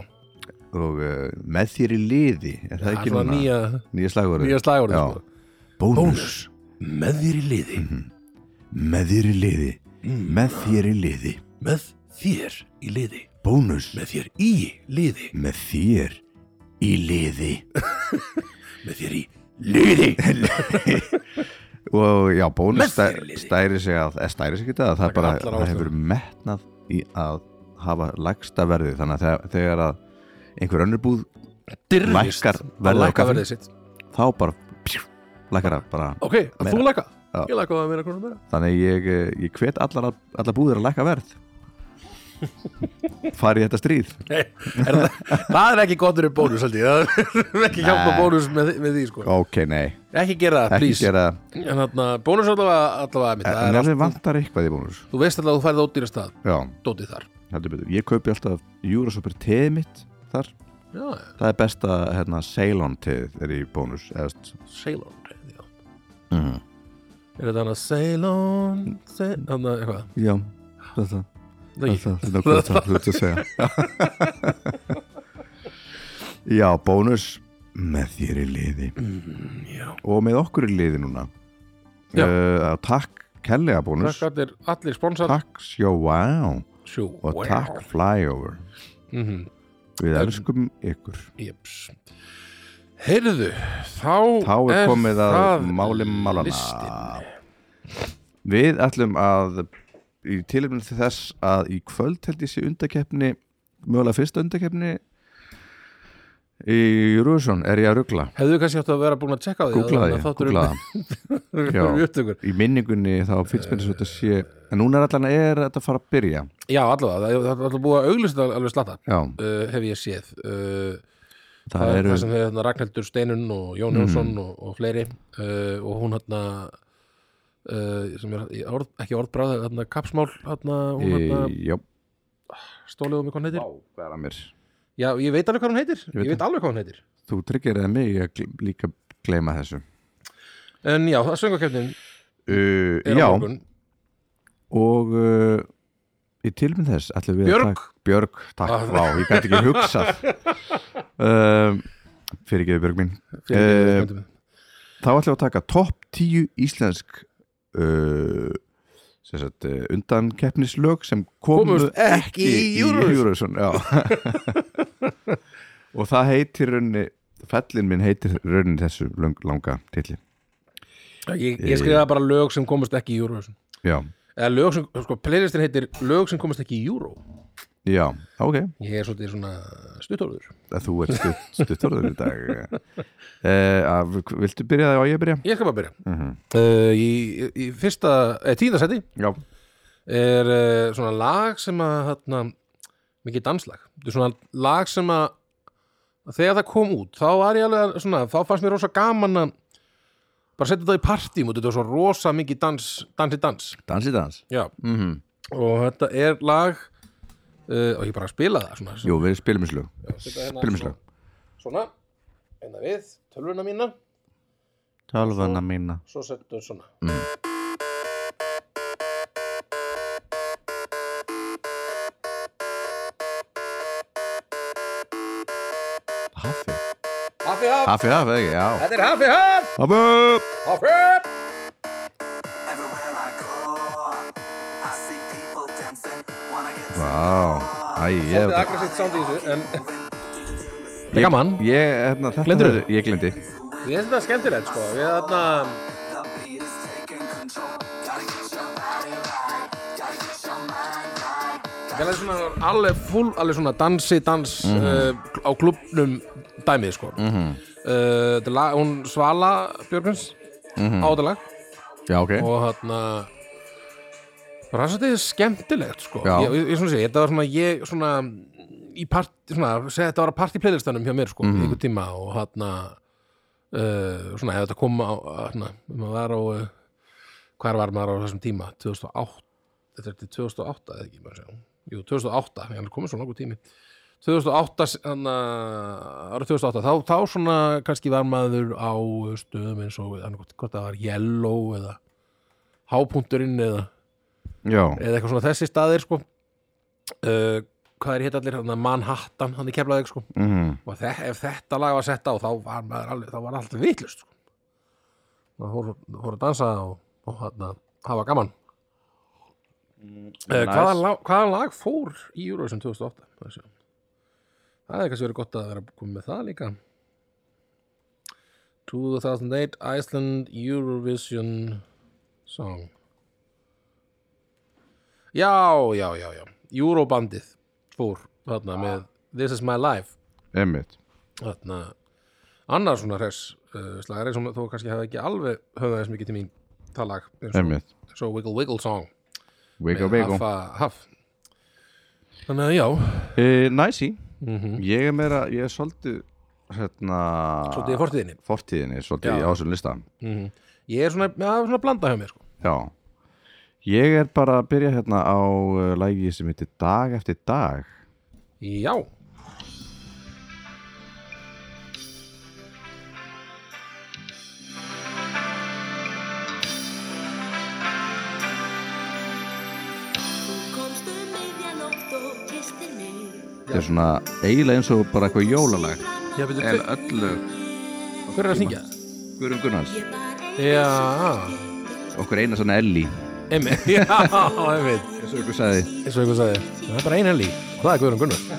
S2: og eh, með þér í liði Er það
S1: það er
S2: ekki
S1: svona
S2: núna?
S1: nýja,
S2: nýja slagur
S1: nýja slagorð
S2: Já.
S1: sko.
S2: bónus. Mhm.
S1: með þér í liði
S2: Með þér í liði
S1: Mm.
S2: Með þér í liði
S1: með þér í liði
S2: Bónus
S1: með þér í liði
S2: Með þér í liði
S1: með þér í
S2: Liði *laughs* Og já, bónus
S1: Með
S2: stæ,
S1: þér liði.
S2: stæri sig að, eða stæri sig ekki það, það
S1: Taka
S2: bara,
S1: allar
S2: það
S1: ástæður.
S2: hefur metnað í að hafa lægsta verði, þannig að þegar, þegar að einhver önnur búð
S1: dirfist
S2: Lækkar verðið
S1: að
S2: á
S1: lækka
S2: kaffi.
S1: verðið sitt
S2: þá bara pjú, lækkar að bara,
S1: ok, að þú lækka
S2: Já.
S1: ég lækka það meira krónum meira
S2: þannig að ég, eh, ég hvet allar, að- allar búðir að lækka verð fari í þetta stríð
S1: Nei, er það, *laughs* það er ekki gott fyrir bónus held ég það er ekki hjálpa
S2: Nei.
S1: bónus með, með því sko
S2: ok, nei,
S1: ekki gera það,
S2: ekki
S1: please
S2: gera
S1: en þarna, bónus allavega, allavega mitt, það
S2: en
S1: er allt,
S2: alveg vantar eitthvað í bónus
S1: þú veist allavega að þú færið ódýra stað
S2: já,
S1: dótið þar
S2: heldur betur, ég kaupi alltaf Júrasopir teið mitt þar
S1: já,
S2: það er besta hérna, Ceylon teið er í bónus eða
S1: Ceylon já.
S2: mm.
S1: er þetta hann að Ceylon þannig að eitthvað
S2: Já, þetta
S1: Nei, *laughs*
S2: Þetta er nákvæmlega það þú ert að segja *laughs* Já, bónus með þér í liði
S1: Mm, já.
S2: og með okkur í liði núna
S1: Já.
S2: uh, takk kellega bónus
S1: Takk allir, allir sponsor
S2: takk sjó wow
S1: Sjú,
S2: og takk flyover
S1: mm
S2: við
S1: En-
S2: elskum ykkur
S1: Jeps. Heyrðu, þá,
S2: þá er komið að
S1: það
S2: máli málana
S1: listin.
S2: við ætlum að í tilefnum þess að í kvöld held ég sé undakeppni mögulega fyrsta undakeppni í Júruðsson er ég að ruggla
S1: Hefðu kannski átt að vera búin að checka á því
S2: googlaði,
S1: áður en að
S2: ég,
S1: þátturinn-
S2: googlaði
S1: *laughs*
S2: Já.
S1: við upptökur.
S2: í minningunni þá finnst mér þess að þetta sé en núna er allan er þetta að fara að byrja
S1: Já, allavega, það- það er alltaf búið að auglýsa þetta alveg slatta
S2: já,
S1: uh, hef ég séð uh,
S2: það,
S1: það, er
S2: eru Mm.
S1: það sem hefur hérna, Ragnhildur Steinun og Jón Jónsson og, og fleiri uh, og hún hérna uh, sem er í orð, ekki orðbráð hérna, kapsmál, hérna, hún hérna
S2: e, já,
S1: stólið um hvað hún heitir
S2: hvað er að mér
S1: Já, ég veit alveg hvað hún heitir,
S2: veit
S1: ég veit alveg hvað hún heitir
S2: þú tryggir eða mig að gl- líka gleyma þessu
S1: En já, það söngakefnin
S2: uh,
S1: er
S2: já,
S1: á morgun
S2: og uh, í tilmynd þess ætlum við að
S1: Björg.
S2: taka- Björg, takk,
S1: Ah.
S2: vá, ég gæti ekki
S1: *laughs*
S2: hugsað um, fyrir ekki Björg mín Eh,
S1: Fyrir-
S2: þá ætlum við að taka topp 10 íslensk uh, sem sagt, uh, undan keppnislög sem komu
S1: Komust ekki í Eurovision.
S2: Eurovision, já
S1: *laughs*
S2: og það heitir raunni fellin minn heitir raunin þessu löng, langa titli
S1: Ég,
S2: eh.
S1: ég skrifaði bara lög sem komast ekki í Eurovision
S2: já,
S1: eða lög sem, sko, playlistin heitir lög sem komast ekki í Euro
S2: já, ok
S1: Ég er svolítið svona stuttóluður
S2: að þú ert stutt, stuttorður í dag uh, að, viltu byrja það og ég byrja?
S1: Ég skal bara byrja
S2: Mhm.
S1: uh, í, í fyrsta, eh, tíðasæti
S2: já,
S1: er uh, svona lag sem að hérna, mikið danslag þetta er svona lag sem að þegar það kom út, þá var ég alveg að- svona, þá fannst mér rosa gaman að bara setja þetta í partím út, þetta var svo rosa mikið dans, dansi dans
S2: dans í dans
S1: Já.
S2: mm -hmm.
S1: og þetta er lag uh, og ég bara að spila það svona,
S2: jú, við spilum í slög
S1: setja hérna
S2: spilum í
S1: svona-
S2: slög
S1: svona, einna við tölvuna mína,
S2: tölvana mína
S1: svo settum svona
S2: hafi,
S1: Hafi Haf,
S2: hafi, hafi, ekki, já
S1: þetta er Hafi Haf
S2: hafi,
S1: Hafi Haf
S3: Everywhere I go, I see people dancing. Wanna get
S2: vá Æ, ég,
S1: Þetta er aggressivt sound í þessu en
S2: ég,
S1: gaman.
S2: ég, hérna, þetta
S1: Gleymdirðu
S2: er- ég glindi
S1: ég finnst þetta skemmtilegt sko Við þarna
S3: the beat is taking control. Gotta get your body right. Gotta get your mind right.
S1: Ég er svona alveg full, alveg svona dansi, dans uh, á klubnum dæmið sko mm -hmm. uh, þetta er lag, Hún Svala Björgvins á þetta lag
S2: já, ok,
S1: og þarna bara þess að þetta er skemmtilegt sko
S2: Já.
S1: ég, ég, ég svona sé, þetta var svona ég svona í part, svona, segi, þetta var að part í playlistanum hjá mér sko, mm einhver tíma og þarna uh, svona, ef þetta kom á þarna, maður var á uh, hvar var maður á þessum tíma 2008, þetta er til 2008 eða ekki, maður sé, jú, 2008 ég hann komið svo langur tími 2008, þannig að árið 2008 þá, þá svona kannski var maður á stöðum eins og annað, hvort það var Yellow eða Hápunkturinn eða,
S2: já
S1: eða eitthvað svona þessi staðir sko uh, hvað er hitt allir þarna, Manhattan, hann er keflaðið sko
S2: mhm,
S1: og þe ef þetta lag var sett á þá var maður alveg, þá var alltaf vitlust sko. það fór, fór að dansa og, og hana, hafa gaman Eh,
S2: nice.
S1: hvaða, lag, hvaða lag fór í Eurovision 2008? Það sé. Það er kannski verið gott að vera komið með það líka 2008 Iceland Eurovision Song Já, já, já, já Eurobandið fór þarna með This is my life
S2: einmitt
S1: þarna annar svona hress uh, slagari sem þó kannski hefði ekki alveg höfðað þess mikið til mín það lag eins og,
S2: einmitt,
S1: eins og Wiggle Wiggle Song
S2: veika,
S1: með
S2: veika
S1: Haffa Haff Þannig að já,
S2: uh, næsi,
S1: Mhm.
S2: ég er meira ég er svolítið, hérna
S1: svolítið í fortíðinni
S2: fortíðinni, svolítið
S1: Já.
S2: á þessum lista
S1: Ég er svona, já, svona blanda hjá mér sko.
S2: já ég er bara að byrja hérna á uh, lægi sem heitir dag eftir dag
S1: Já,
S4: Þú komst um miðjan ótt og kistir mig
S2: þetta er svona eiginlega eins og bara eitthvað jólalag
S1: Já, betur,
S2: en
S1: hver,
S2: öllu
S1: hver er að syngja?
S2: Guðrum Gunnars,
S1: Já,
S2: okkur eina svona Elli
S1: emmi *laughs* Já, emmi
S2: eins og ykkur sagði
S1: eins og einhvern sagði, það er bara ein helgi og það er Guðrún Gunnar
S4: um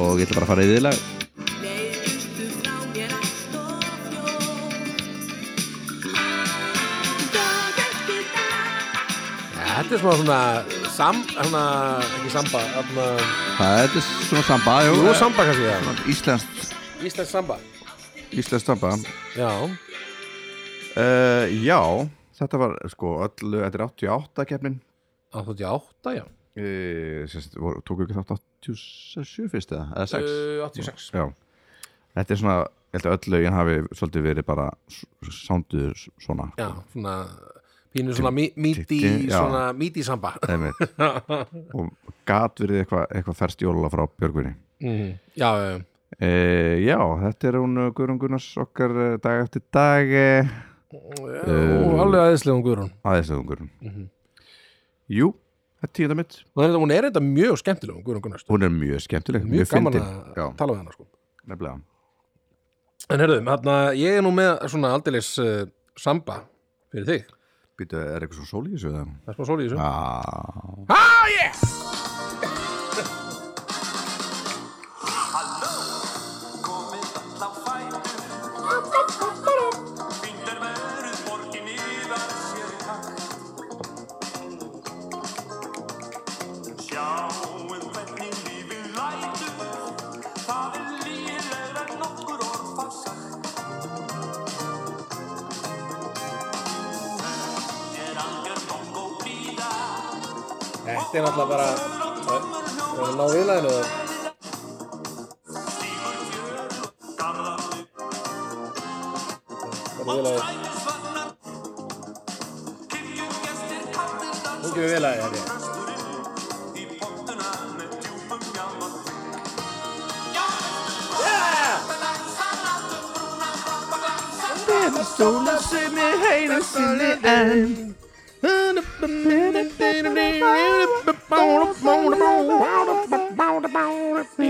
S2: og ég ætla bara að fara í viðlag
S1: Þetta er smá svona sam, svona, ekki samba afna,
S2: það þetta er svona samba jú,
S1: Jú, samba kannski já.
S2: Íslands,
S1: Íslensk samba
S2: Íslands samba
S1: Já,
S2: uh, já, þetta var sko öllu, þetta er 88 keppnin
S1: 88, já
S2: uh, sérst, voru, tóku ekki þátt 87 fyrst eða, eða
S1: Uh,
S2: 6
S1: 86
S2: já, þetta er svona ég held að öll lögin hafi svolítið verið bara sánduð svona
S1: Já, svona pínu svona mi- midi,
S2: Titti, já.
S1: svona midi samba
S2: Einmitt.
S1: *laughs*
S2: og gat verið eitthvað eitthva ferst jóla frá Björgvinni
S1: mm. Já, já, já.
S2: e, já, þetta er hún uh, Guðrún Gunnars okkar uh, dag eftir dag e, Eh,
S1: og alveg aðeinslega um Guðrún
S2: aðeinslegungur
S1: Mhm.
S2: jú, þetta er tíðan mitt
S1: og þannig að hún er þetta mjög skemmtileg um Guðrún Gunnars
S2: hún er mjög skemmtileg,
S1: mjög gaman
S2: fyndin.
S1: að
S2: já,
S1: tala við hana sko
S2: nefnilega
S1: En herðu, þarna, ég er nú með svona aldeilis uh, samba fyrir þig
S2: Býtu, er eitthvað svo sól í þessu? eða?
S1: Það er smá sól í þessu
S2: Ah,
S1: Ah, yeah!
S3: Halló, komið all á fætur Fínt er verið borgin yðar sér í takt Sjáum hvernig lífið lætur Það er lífið en nokkur orð far sagt Þetta er algjör bongo bíða
S1: Þetta er náttúrulega bara Það er ná viðlæðinu
S3: Stígur fjör, garðar upp
S1: Nú gefum við vel að þér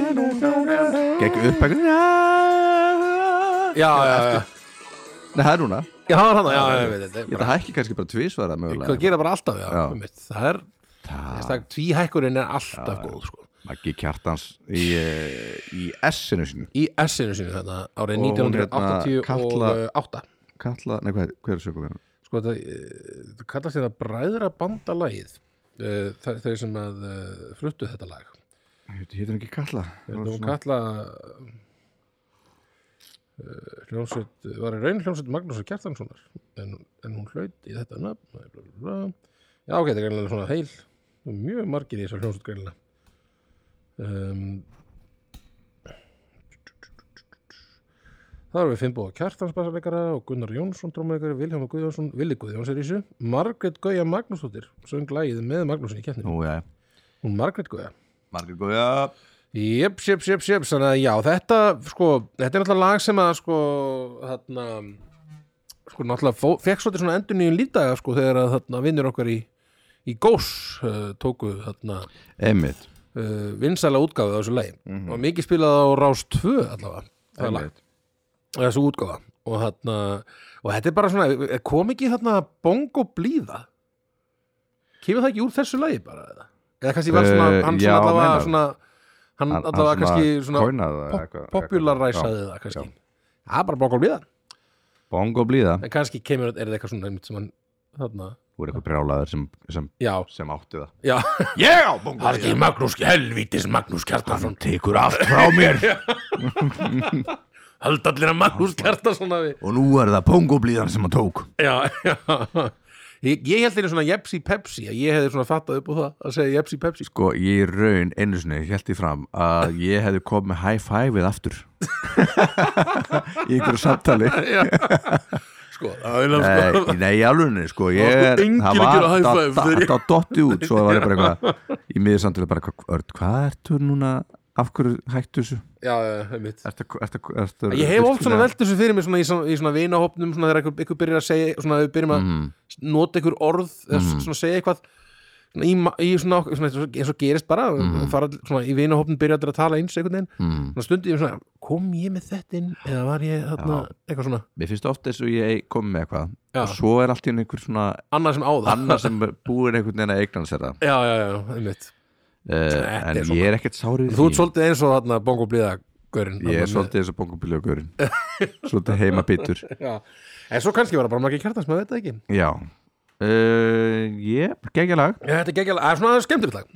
S2: Gekk upp ekki Nei,
S1: Já, já, já
S2: það er núna
S1: Já, það er hann, já, já, já, já,
S2: Ég
S1: já
S2: þetta hækki kannski bara tvísvara
S1: Hvað
S2: mögulega
S1: gera bara alltaf, já,
S2: Já.
S1: einmitt. Það er, þess að tvíhækkurinn er alltaf góð, sko
S2: Maggi Kjartans í, eh, í S-inu sínu
S1: Í S-inu sínu þetta, árið
S2: Og hún hérna,
S1: 1988
S2: Kalla, nei hvað, hvað er sögum hérna?
S1: eh, Sko, þetta, eh, þetta kallast þetta bræðra bandalagið Þau sem að eh, fluttu þetta lag
S2: Hittir ekki Kalla
S1: Þetta hún kalla uh, eh, hljómsveit, var í raun hljómsveit Magnúsar Kjartanssonar en, en hún hlaut í þetta nafn bla, bla, bla. Já, ok, þetta er greinlega svona heil og mjög margir í þessar hljómsveit greinlega um, Það eru við Finnbóða Kjartansbassarleikara og Gunnar Jónsson trómuleikari, Vilhjálmur Guðjónsson, Vili Guðjóns er í þessu Margrét Gauja Magnúsdóttir söng lagið með Magnúsin í keppni
S2: Nú, já,
S1: Hún Margrét Gauja
S2: Margir Gója
S1: Jöps, jöps, jöps, jöps, þannig að já, þetta, sko, þetta er náttúrulega lag sem að, sko, þarna, sko, náttúrulega fó, fekk svolítið svona endur nýjum lífdaga, sko, þegar að þarna vinnur okkar í, í gós uh, tóku, þarna,
S2: Einmitt
S1: uh, vinsæla útgáfið á þessu lagi og mikið spilaði á Rás 2 allavega, það lag,
S2: Einmitt
S1: þessu útgáfa og þarna, og þetta er bara svona, kom ekki þarna bongo blíða, kemur það ekki úr þessu lagi bara, eða, eða kannski var svona,
S2: Eh,
S1: hann
S2: já,
S1: svona allavega
S2: meinar.
S1: svona, Hann,
S2: Hann- hann
S1: allavega
S2: svona
S1: kannski svona
S2: coinaði það
S1: pop-
S2: eitthvað-
S1: popularæsaði það kannski það er bara bókál blíða
S2: Bongo blíða
S1: en kannski kemur, er það eitthvað svona einmitt sem hann þarna,
S2: Þú er eitthvað brjálaður sem, sem,
S1: já,
S2: sem átti það
S1: já
S2: Ég á bongo
S1: Harki Magnús, helvítis Magnús Kjartarsson
S2: tekur allt frá mér *laughs*
S1: haldallina Magnús Kjartarsson hafi
S2: og nú er það pongoblíðan sem hann tók
S1: já, já ég, ég held þeirri svona Jepsi Pepsi að ég hefði svona fattað upp á það að segja Jepsi Pepsi
S2: sko ég í raun einu sinni held ég fram að ég hefði komið með high five-ið aftur í einhverju samtali *laughs*
S1: sko, það er náttúrulega
S2: nei,
S1: sko
S2: nei í alvegni sko ég
S1: Það var sko
S2: er,
S1: enginn að gera high five
S2: það
S1: þegar ég-
S2: var dotti út svo var ég bara eitthvað í miður samtali bara "Hva- Örn, hvað ertu núna af hverju hættu þessu
S1: já, já, einmitt
S2: ertu, ertu, ertu,
S1: Ég hef oft svona
S2: virkilega-
S1: velt þessu fyrir mér svona í svona, í svona vinahopnum
S2: Mm.
S1: svona þegar einhver, einhver byrjar að segja svona þegar við byrjum að nota einhver orð eða svona segja eitthvað svona í, ma- í svona, svona eins og- eins og gerist bara mm. fara, svona, í vinahopn byrja allir að tala eins einhvern veginn
S2: mm.
S1: svona stundi ég svona, kom ég með þetta inn eða var ég þarna, eitthvað svona
S2: Mér finnst ofta eins og ég kom með eitthvað
S1: Já.
S2: og svo er allt í einu einhver svona
S1: annar sem á það
S2: annar
S1: *laughs*
S2: sem búir einhvern veginn að eignan sér það
S1: já, já, já, einmitt
S2: uh,
S1: er
S2: en
S1: svona-
S2: ég er ekkert sárið
S1: þú ert svolítið eins og þarna bongo blíða gaurinn
S2: ég
S1: þarna
S2: er
S1: með-
S2: svolítið eins og bongubíljókurinn *laughs* svolítið heimabítur
S1: já. en svo kannski var það bara margir kjartans, maður veit það ekki
S2: já uh, ég, geggja lag
S1: Já, þetta er geggjala, það er svona skemmtilegt lag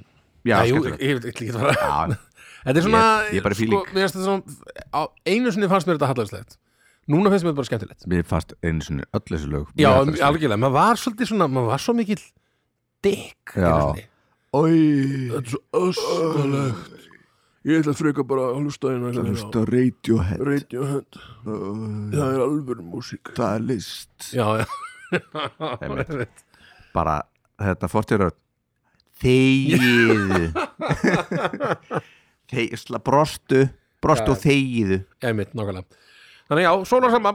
S2: já,
S1: Nei, jú,
S2: skemmtilegt.
S1: ég veit ekki hvað
S2: já,
S1: *laughs* Þetta er svona sko,
S2: Ég- ég er bara í fíling.
S1: mér finnst þetta svona, á, Einu sinni fannst mér þetta hallarslegt Núna finnst mér þetta bara skemmtilegt
S2: mér fannst einu sinni öll þessu lög
S1: Já, um,
S2: Mér fannst-
S1: algjörlega, maður var svolítið svona maður var svo mikill dikk
S2: Já. Oj,
S1: Þetta er svo öskalegt Ég ætla að freka bara að hlusta hérna
S2: hlusta á Radiohead
S1: Radiohead Það er alvöru músík
S2: það er list
S1: Já, *laughs* já
S2: Einmitt. bara þetta fortjörður *laughs* þegiðu Þeg, brostu brostu og þegiðu
S1: Einmitt, nákvæmlega Þannig já, svona sama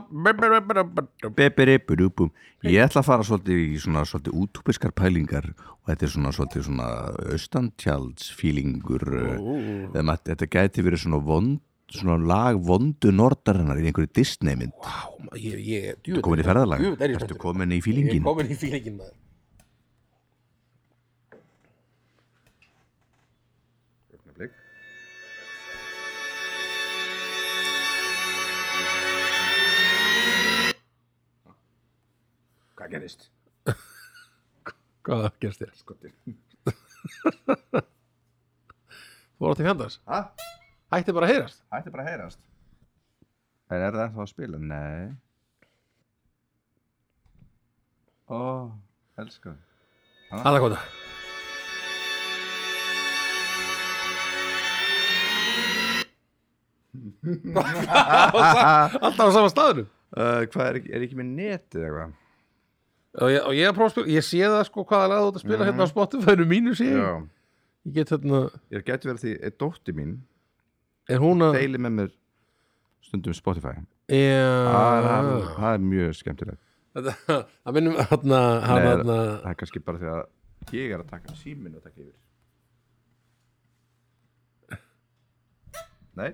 S2: Beberi, budubum. ég ætla að fara svolítið í svona svolítið útúpiskar pælingar og þetta er svona svolítið svona austantjaldsfílingur oh. þetta gæti verið svona vond svona lag vondu nordarinnar í einhverju Disneymynd
S1: Vá, ma- ég, ég,
S2: Ertu komin í ferðalag?
S1: Jú, er ég
S2: Ertu
S1: spenntur.
S2: komin í
S1: Ég er
S2: fílingin?
S1: komin í fílingin maður
S2: Hvað gerist?
S1: Hvað gerst þér? Skotir *laughs* Þú voru til fjandars
S2: Hæ?
S1: Hætti bara að heyrast
S2: Ætti bara að heyrast En er það ennþá að spila? Nei Ó, elsku
S1: Aðakota Alltaf á sama staðinu
S2: uh, Hvað er, ekki- er ekki með netið eitthvað?
S1: Og ég, og ég er að prófa að spila Ég sé það sko hvaða lag þú ert að spila hérna á Spotify-nu mínu sé ég
S2: Mhm. Já
S1: Ég get hérna
S2: Ég gæti verið því að dótti mín
S1: Er hún að
S2: deili með mér stundum Spotify
S1: Ah.
S2: Ah, Það er-
S1: Já
S2: það er mjög skemmtilegt
S1: Þetta- *laughs* Það minnum hérna
S2: Nei,
S1: hann hérna
S2: Það er kannski bara því að ég er að taka síminn og taka yfir Nei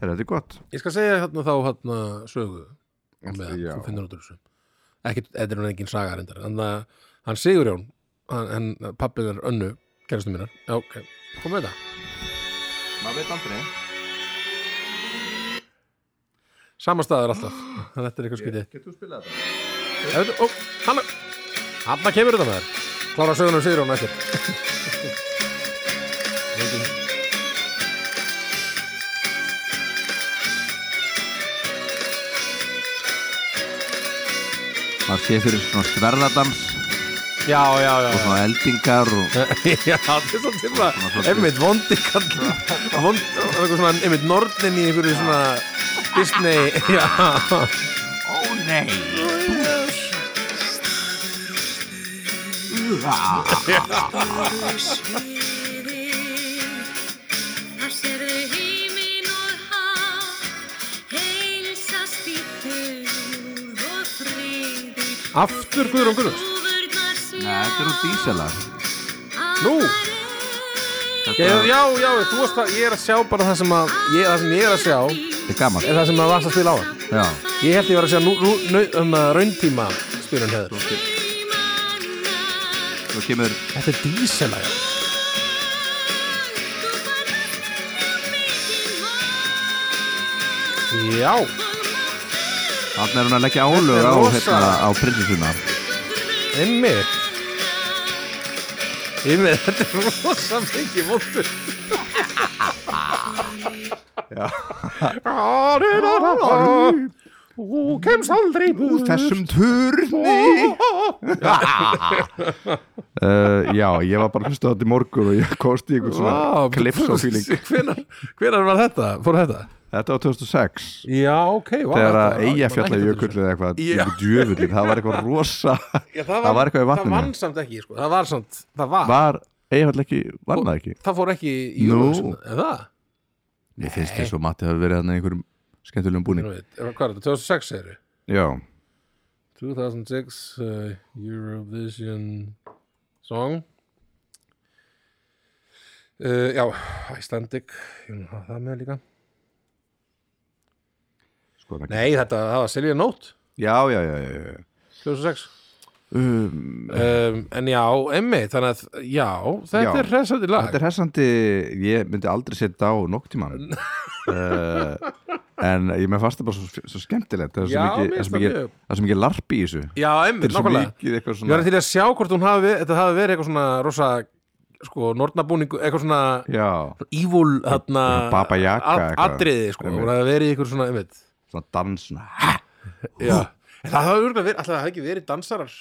S2: Heyrðu, Þetta er gott
S1: Ég skal segja hérna þá hérna sögu á meðan
S2: já.
S1: þú finnur út úr þessu ekki, þetta er hann engin saga reyndar en það, hann Sigurjón hann, hann pappið er önnu, kæristu mínar já, ok, kom með þetta
S2: Maður veit aldrei
S1: sama staður *gasps* alltaf, þetta er eitthvað skytið
S2: Getur þú spilað þetta?
S1: yeah. ó, hann hann kemur þetta með þér klára sögunum Sigurjón *laughs* eftir
S2: Maður sé fyrir svona sverðadans
S1: já, já, já, já.
S2: og eldingar
S1: *laughs*
S2: og
S1: Eh. Já, þetta er svolítið
S2: Svona
S1: svona
S2: svolítið.
S1: einmitt vondi kall vond, eitthvað svona, einmitt nornin í einhverju svona *laughs* Disney já
S2: Ó nei
S4: Þar sérðu heiminn og haf, heilsast í dögur og friði.
S1: Aftur Guðrún Gunnars
S4: Þúfurnar
S2: Nei, þetta eru
S4: sjá,
S2: díselar
S1: Nú.
S4: afar
S1: Já, já, já, þú varst að, ég er að sjá bara það sem að, ég, það sem ég er að sjá
S2: Þetta er gammalt
S1: er það sem að varst að spila á hann.
S2: Já
S1: Ég held ég var að sjá nú, nú, nú, um, rauntíma spilun hefur.
S2: Nú kemur
S1: Þetta er díselag. Já,
S2: Þannig er hún að leggja álög á,
S1: rosa.
S2: hérna, á prinsessuna
S1: einmitt. Einmitt, *laughs* þetta er rosa mikið vondur. Já. Þú kemst aldrei búð.
S2: Þessum turni *laughs* uh, Já, ég var bara að hlusta á þetta í morgun og ég komst í einhvern svona *laughs* klips og fíling
S1: *laughs* Hvenar, hvenar var þetta? Fór þetta?
S2: Þetta var 2006
S1: Já, ok. vá,
S2: þegar
S1: þetta
S2: að
S1: var-
S2: eiga
S1: ég man
S2: fjalla
S1: ekkert eftir
S2: jökull
S1: þessu.
S2: eða eitthvað,
S1: Já.
S2: eitthvað djöfullin, það var eitthvað rosa
S1: Já,
S2: það, var eitthvað í
S1: Það
S2: vatninu
S1: vann samt ekki, sko. Það var samt, það var.
S2: var eiga fjalla ekki, var það ekki
S1: Það fór ekki í
S2: Nú.
S1: Eurovision, eða það?
S2: Mér finnst þess að Matti hafi verið þarna í einhverjum skemmtilegum
S1: Nú
S2: búning
S1: veit, er- Hvað er þetta? 2006 eru?
S2: Já,
S1: 2006 uh, Eurovision song Uh, já, Icelandic, ég vil hafa það með líka.
S2: Skoðum ekki.
S1: Nei, þetta, það var Silvia Nótt,
S2: sko, Já, já, já, já, já.
S1: 2006.
S2: Um,
S1: Um, en já, emmi, þannig að, já, þetta
S2: Já.
S1: er hressandi lag.
S2: Þetta er hessandi, ég myndi aldrei setja á noktíman uh, En ég með fasta bara svo, svo skemmtilegt Það er
S1: Já,
S2: svo
S1: mér
S2: mikið- það er
S1: finnst
S2: svo mikið-
S1: það mjög.
S2: það er svo mikið larp í þessu
S1: Já, emmi,
S2: Þetta er svo
S1: nákvæmlega.
S2: mikið eitthvað
S1: Ég var
S2: svona
S1: til að sjá hvort hún hafi, þetta hafi verið eitthvað svona rosa, sko, nornabúningu, eitthvað svona
S2: Já,
S1: evil, þarna,
S2: Baba Yaga
S1: að-
S2: eitthvað.
S1: atriði, sko,
S2: Einmitt.
S1: hún hafi verið eitthvað svona, einmitt,
S2: svona dans svona,
S1: já, en það hafi örugglega verið, alltaf það hafi ekki verið dansarar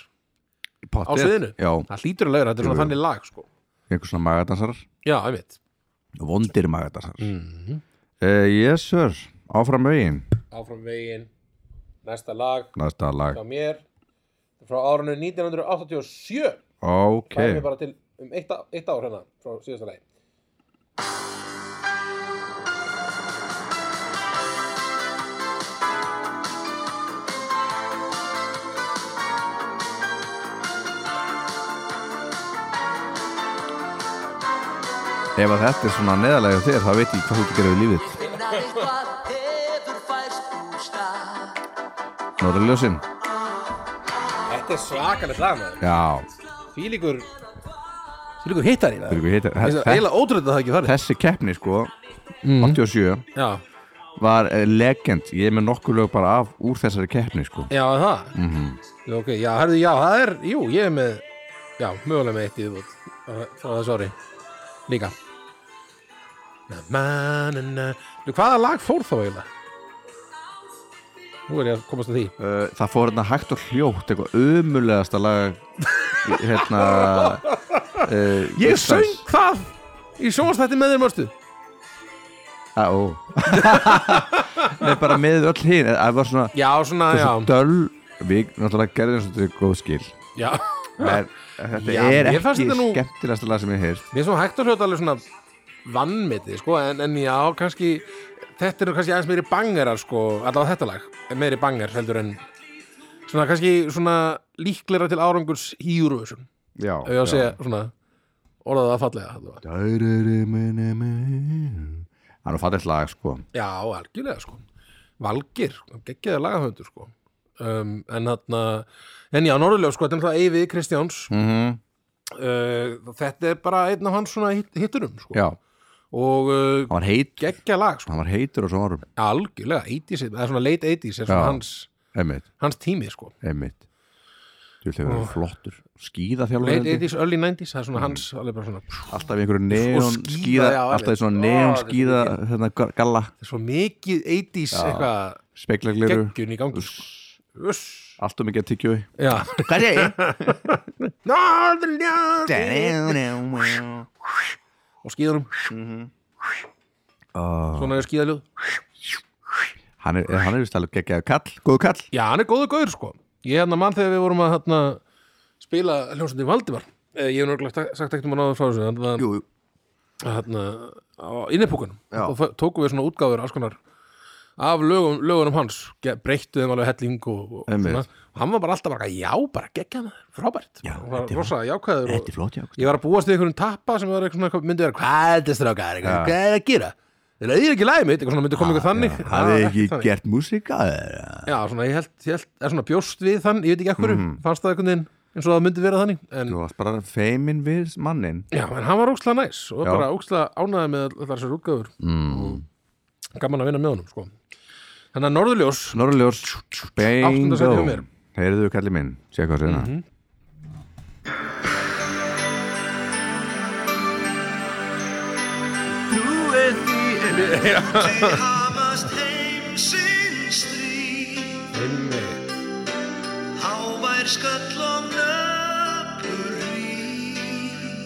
S1: á
S2: pottet.
S1: sviðinu,
S2: Já,
S1: það hlýtur að lögur, þetta er
S2: Jú,
S1: svona
S2: jú.
S1: þannig lag, sko,
S2: einhver svona magadansar
S1: já, einmitt,
S2: Vondir magadansar mm
S1: Mhm.
S2: Yes sir, áfram veginn
S1: áfram veginn, næsta lag,
S2: Næsta lag,
S1: hjá mér, frá árinu 1987,
S2: ok
S1: það er mér bara til um eitt, á- eitt ár hérna, frá síðasta lagi.
S2: Ef að þetta er svona neðalega þér þá veit ég hvað þú ert að gera við lífið
S5: Finna eitthvað hefur færst úr stað
S2: Nóra ljósin
S1: Þetta er svakalegt lag, maður,
S2: Já,
S1: fílíkur, fílíkur hittar í það.
S2: fyrir hvað heitir
S1: Þetta er eiginlega ótrúlega að það hafi ekki farið
S2: þessi keppni sko
S1: Mhm.
S2: 87
S1: Já,
S2: var eh, legend ég er með nokkur lög bara af úr þessari keppni sko
S1: já er það mm -hmm. okay, Já, herðu, já, það er, jú, ég er með Já, mögulega með eitt í þútt Frá þessu ári Líka na, na, na, na. Nú, Hvaða lag fór þá eiginlega? Nú er ég að komast að því
S2: uh, það fór hérna hægt og hljótt eitthvað umulegasta lag í- hérna uh,
S1: Ég söng það í sjónstætti með þér mörstu
S2: ah, ó. *laughs* Nei, bara með öll hinn það var svona,
S1: Já, svona, já,
S2: svona döl við náttúrulega gerðum eins og þetta er góð skil
S1: já
S2: en þetta
S1: Já,
S2: er
S1: mér
S2: ekki
S1: fannst þetta nú-
S2: skemmtilegasta lag sem ég hef heyrt
S1: Mér er svona hægt og hljóta alveg svona vannmetið, sko, en, en já, kannski þetta eru kannski aðeins meiri bangerar, sko allavega þetta lag, er meiri banger heldur en svona kannski svona líkleira til árangurs í Eurovision
S2: já,
S1: ef ég á að segja svona orðaða fallega allavega.
S2: það er nú fallið lag sko
S1: Já, algjörlega, sko Valgir, geggjaði lagahöndur, sko um, en þarna en já, Norðurljó, sko, þetta er náttúrulega Eyvi Kristjáns
S2: mm
S1: uh, þetta er bara einn af hans svona hit- hitturum, sko
S2: já,
S1: og uh,
S2: hann var heit
S1: geggja lag, sko
S2: hann var heitur á svona árum
S1: algjörlega, 80s, eða svona late 80s er svona
S2: Já.
S1: hans,
S2: Einmitt,
S1: hans tími sko.
S2: einmitt Þú ætla að vera flottur Skíðaþjálfur
S1: late
S2: held ég.
S1: 80s, early 90s, það er svona hans alveg bara svona, pff,
S2: Alltaf í einhverju neon
S1: skíða,
S2: skíða
S1: já,
S2: Alltaf í
S1: einmitt.
S2: svona
S1: Ó,
S2: neon
S1: þetta er svo
S2: skíða Hérna gar- galla
S1: það er svo mikið 80s eitthvað
S2: Speklagliru
S1: geggjun í gangi sko. Uss.
S2: Allt og mikið að tyggjói
S1: já *laughs*
S2: Hvað er ég? *laughs*
S1: Norðurljós
S2: Þetta
S1: og skíðanum svona er skíðaljóð
S2: Hann er, hann er vist alveg geggjaðu kall Góðu kall
S1: já, hann er góðu gaur sko ég hérna mann þegar við vorum að hérna, spila hljómsundi Valdimar Eh, ég hef nörgulega sagt ekkert um að náða frá þessu þannig að
S2: Jú, jú
S1: hérna, á innipúkunum
S2: Já.
S1: og þá tókum við svona útgáfur alls konar af lögum, lögunum hans ge- breyttu þeim alveg helling og, og,
S2: Einmitt.
S1: svona. og hann var bara alltaf bara já, bara geggja hann, frábært
S2: Já,
S1: og var
S2: þetta er-
S1: rosa jákvæður og
S2: Þetta er flott já
S1: ég var að búast við einhverjum tappa sem var eitthvað svona myndi vera, hvað er þetta strákar
S2: Já.
S1: hvað er að gera, þetta er ekki læmi eitthvað svona myndi koma ykkur þannig Já,
S2: Hafið þið ekki
S1: þannig.
S2: gert músíka? eða?
S1: já, svona ég held, ég held, er svona bjóst við þann ég veit ekki ekkur,
S2: Mhm.
S1: mm. fannst það einhvern veginn eins og það myndi vera þannig en,
S2: Þú varst bara feimin við mannin
S1: Já, en hann var ókslega næs og
S2: Já.
S1: bara ókslega ánæði með allar þessar útgáfur mm. gaman að vinna með honum sko. þannig að Norðurljós
S2: Norrljós
S1: Áttunda sæti hjá
S2: Bingo
S1: mér. Mhm.
S2: Heyrðu kalli minn Sér hvað sér það
S3: Nú er því en Þið hamast heimsins stríð Hávær skall og nöpur ríð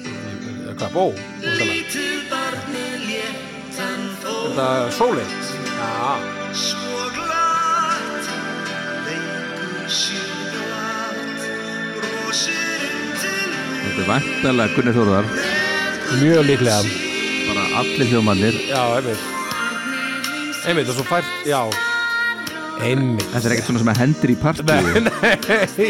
S1: Eh, hvað, bó vantarlega.
S3: Lítið barni léttan fór
S1: þetta er sólinn já,
S3: Svo glatt Leikur sér glatt Brosir um til
S2: Þetta er væntalega Gunni Þórðar
S1: mjög líklega
S2: bara allir hljómannir
S1: já, einmitt einmitt og svo fært, já einmitt
S2: Þetta er ekkert svona sem að hendur í partíu
S1: Nei, nei.
S3: Rætast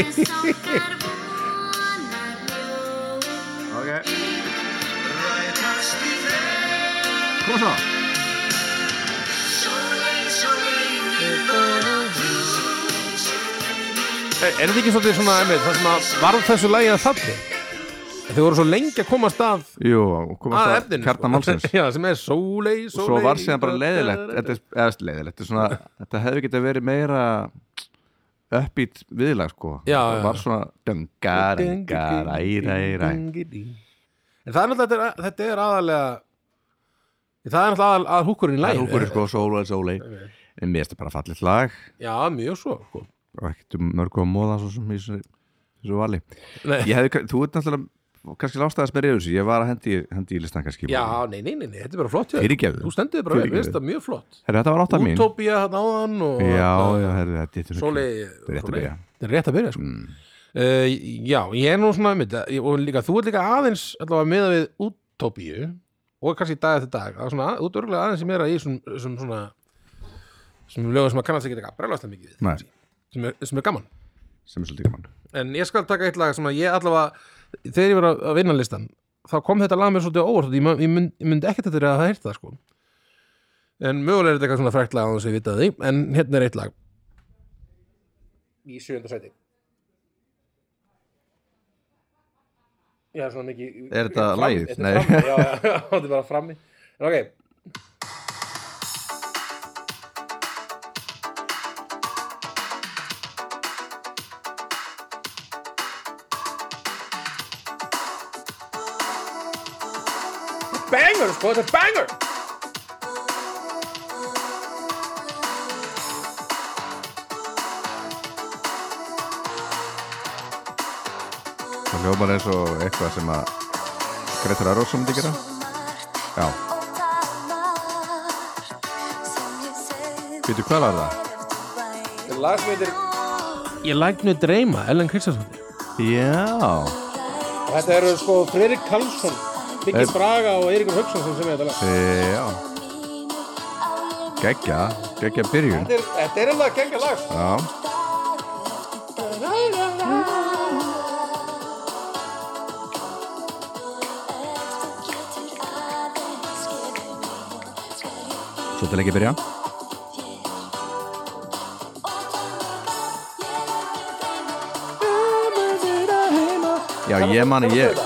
S4: sest í regn
S2: Koma svo
S4: Sólin, sólin, ég lofa Sólin, sólin,
S1: E, Er er þetta ekki svolítið svona, einmitt, það sem að varð þessu lægi að þalli? Þau voru svo lengi að komast að
S2: Jú, og komast
S1: að
S2: að
S1: efninu sko.
S2: kjarna málsins
S1: *laughs* Já, sem er sólei,
S2: og
S1: sólei
S2: svo var síðan bara leiðilegt þetta, er- eða veist, leiðilegt, þetta, er svona, þetta hefði getið verið meira uppbýtt viðlag sko
S1: Já,
S2: það
S1: já.
S2: var svona dungarangaræræræ
S1: En það er náttúrulega þetta er- þetta er aðalega Það er náttúrulega aðal, að húkurinn í eh?
S2: það
S1: lægi
S2: er húkur sko, sólei, sólei en mér finnst þetta bara fallið lag
S1: Já, mjög svo sko.
S2: og ekkert um mörgu að móða svo sem í þessu þessu vali
S1: Nei.
S2: ég hefði, þú ert náttúrulega kannski lástaðast með reyðus ég var að hendi, hendi í listan kannski
S1: Já, nei, nei, nei, nei, þetta er bara flott hjá þér.
S2: Fyrirgefðu.
S1: Þú stendur þig bara vel,
S2: Fyrirgefðu.
S1: mér finnst það mjög flott
S2: Herra, þetta var átta mín
S1: Utopía hann áðan og
S2: já, já, herri, þetta er
S1: Sólei
S2: þetta er rétt að byrja Mm.
S1: Þetta er rétt að byrja sko. uh, Já, ég er nú svona einmitt, að- og líka, þú ert líka aðeins allavega meða við útópíu og kannski dag eftir dag að svona, út örgulega aðeins sem er að í sem, sem svona sem lögum sem að kannast ekki eitthvað brelast það mikið við
S2: Nei,
S1: sem er, sem er gaman
S2: sem er svolítið gaman
S1: en ég skal taka eitt lag sem að ég allavega þegar ég var að- að vinna listan þá kom þetta lag mér svolítið á óvart því ég, mun- ég mynd- ég myndi ekkert þetta að það heyrta það sko en mögulega er þetta eitthvað svona frækt lag án þess að ég vita því, en hérna er eitt lag í sjönda sæti Já, svona mikið
S2: Er þetta
S1: fram-
S2: lagið?
S1: Þetta
S2: Nei.
S1: er frammi, Já, já, já, þetta er bara frammi En ok, banger sko, þetta er banger
S2: Það hljómar eins og eitthvað sem að Gretar Arósson myndi gera Já, býtu hvað var það?
S1: Þetta er lag sem heitir Ég læt mér dreyma, Ellen Kristjánsson
S2: Já
S1: Og þetta eru sko Fredrik Karlsson Biggi
S2: Er-
S1: Braga og Eiríkur Hauksson sem sem þetta lag
S2: Já Geggja, geggja byrjun
S1: Þetta er- Þetta er alveg að gengja lag sko.
S2: Já Svo til ekki byrja Já, ég man að ég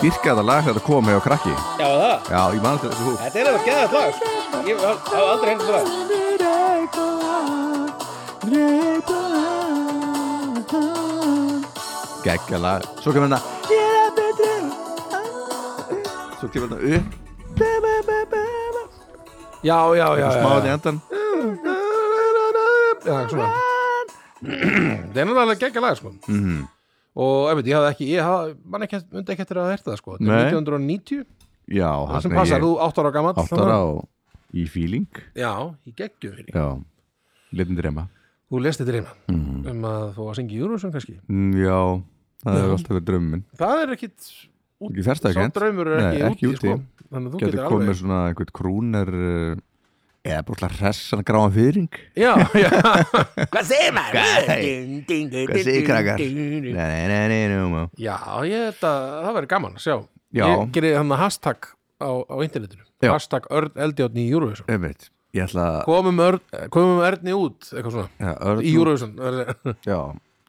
S2: dyrkaði þetta lag þegar þetta kom hefur krakki
S1: Já það,
S2: Já, ég man þetta þessu húf
S1: þetta er alveg að gengja lag sko. Ég hef hef aldrei hendur það
S2: Geggja lag Svo kemur hérna Svo kemur hérna upp
S1: Já, já, já
S2: Smáðið hérna í endan
S1: Já, svona Þetta er alveg að gengja lag sko.
S2: Mhm.
S1: Og einmitt, ég hafði ekki, ég hafði, mann ekki, myndi ekki eftir að hérta það sko. Þetta
S2: Nei.
S1: er 1990,
S2: Já,
S1: það sem
S2: þarna
S1: passar,
S2: ég
S1: þú átt ára gamall
S2: Átt ára og í feeling
S1: Já, í geggjum fyrir
S2: Já, litin drema
S1: Þú lest þetta reyna
S2: Mhm.
S1: um að þú að syngja í Eurovision kannski
S2: Mm, Já, það hefur alltaf verið draumum
S1: Það er ekkit út
S2: Ekki færsta
S1: Sá
S2: ekki
S1: draumur er
S2: Nei,
S1: ekki,
S2: ekki
S1: úti,
S2: úti.
S1: Sko. Þannig að þú getur
S2: Getur komið *laughs*
S1: alveg
S2: svona einhvern krúner eh, eða bara alltaf hressan gráðan fyrring
S1: Já,
S2: *laughs*
S1: já Hvað segir
S2: Hvað segir krakkar?
S1: maður?
S2: Nei, nei, nei, nei, nei, nei.
S1: Já, ég þetta, það verður gaman að sjá
S2: Já.
S1: Ég gerir hann að hashtag á, á internetinu
S2: Já.
S1: Hashtag Örn Eldjáttni í Eurovision
S2: Einmitt, ég ætla að
S1: Komum, örn, eh, komum Örni út, eitthvað svona
S2: Já, Örn-
S1: Í Eurovision Það
S2: Já,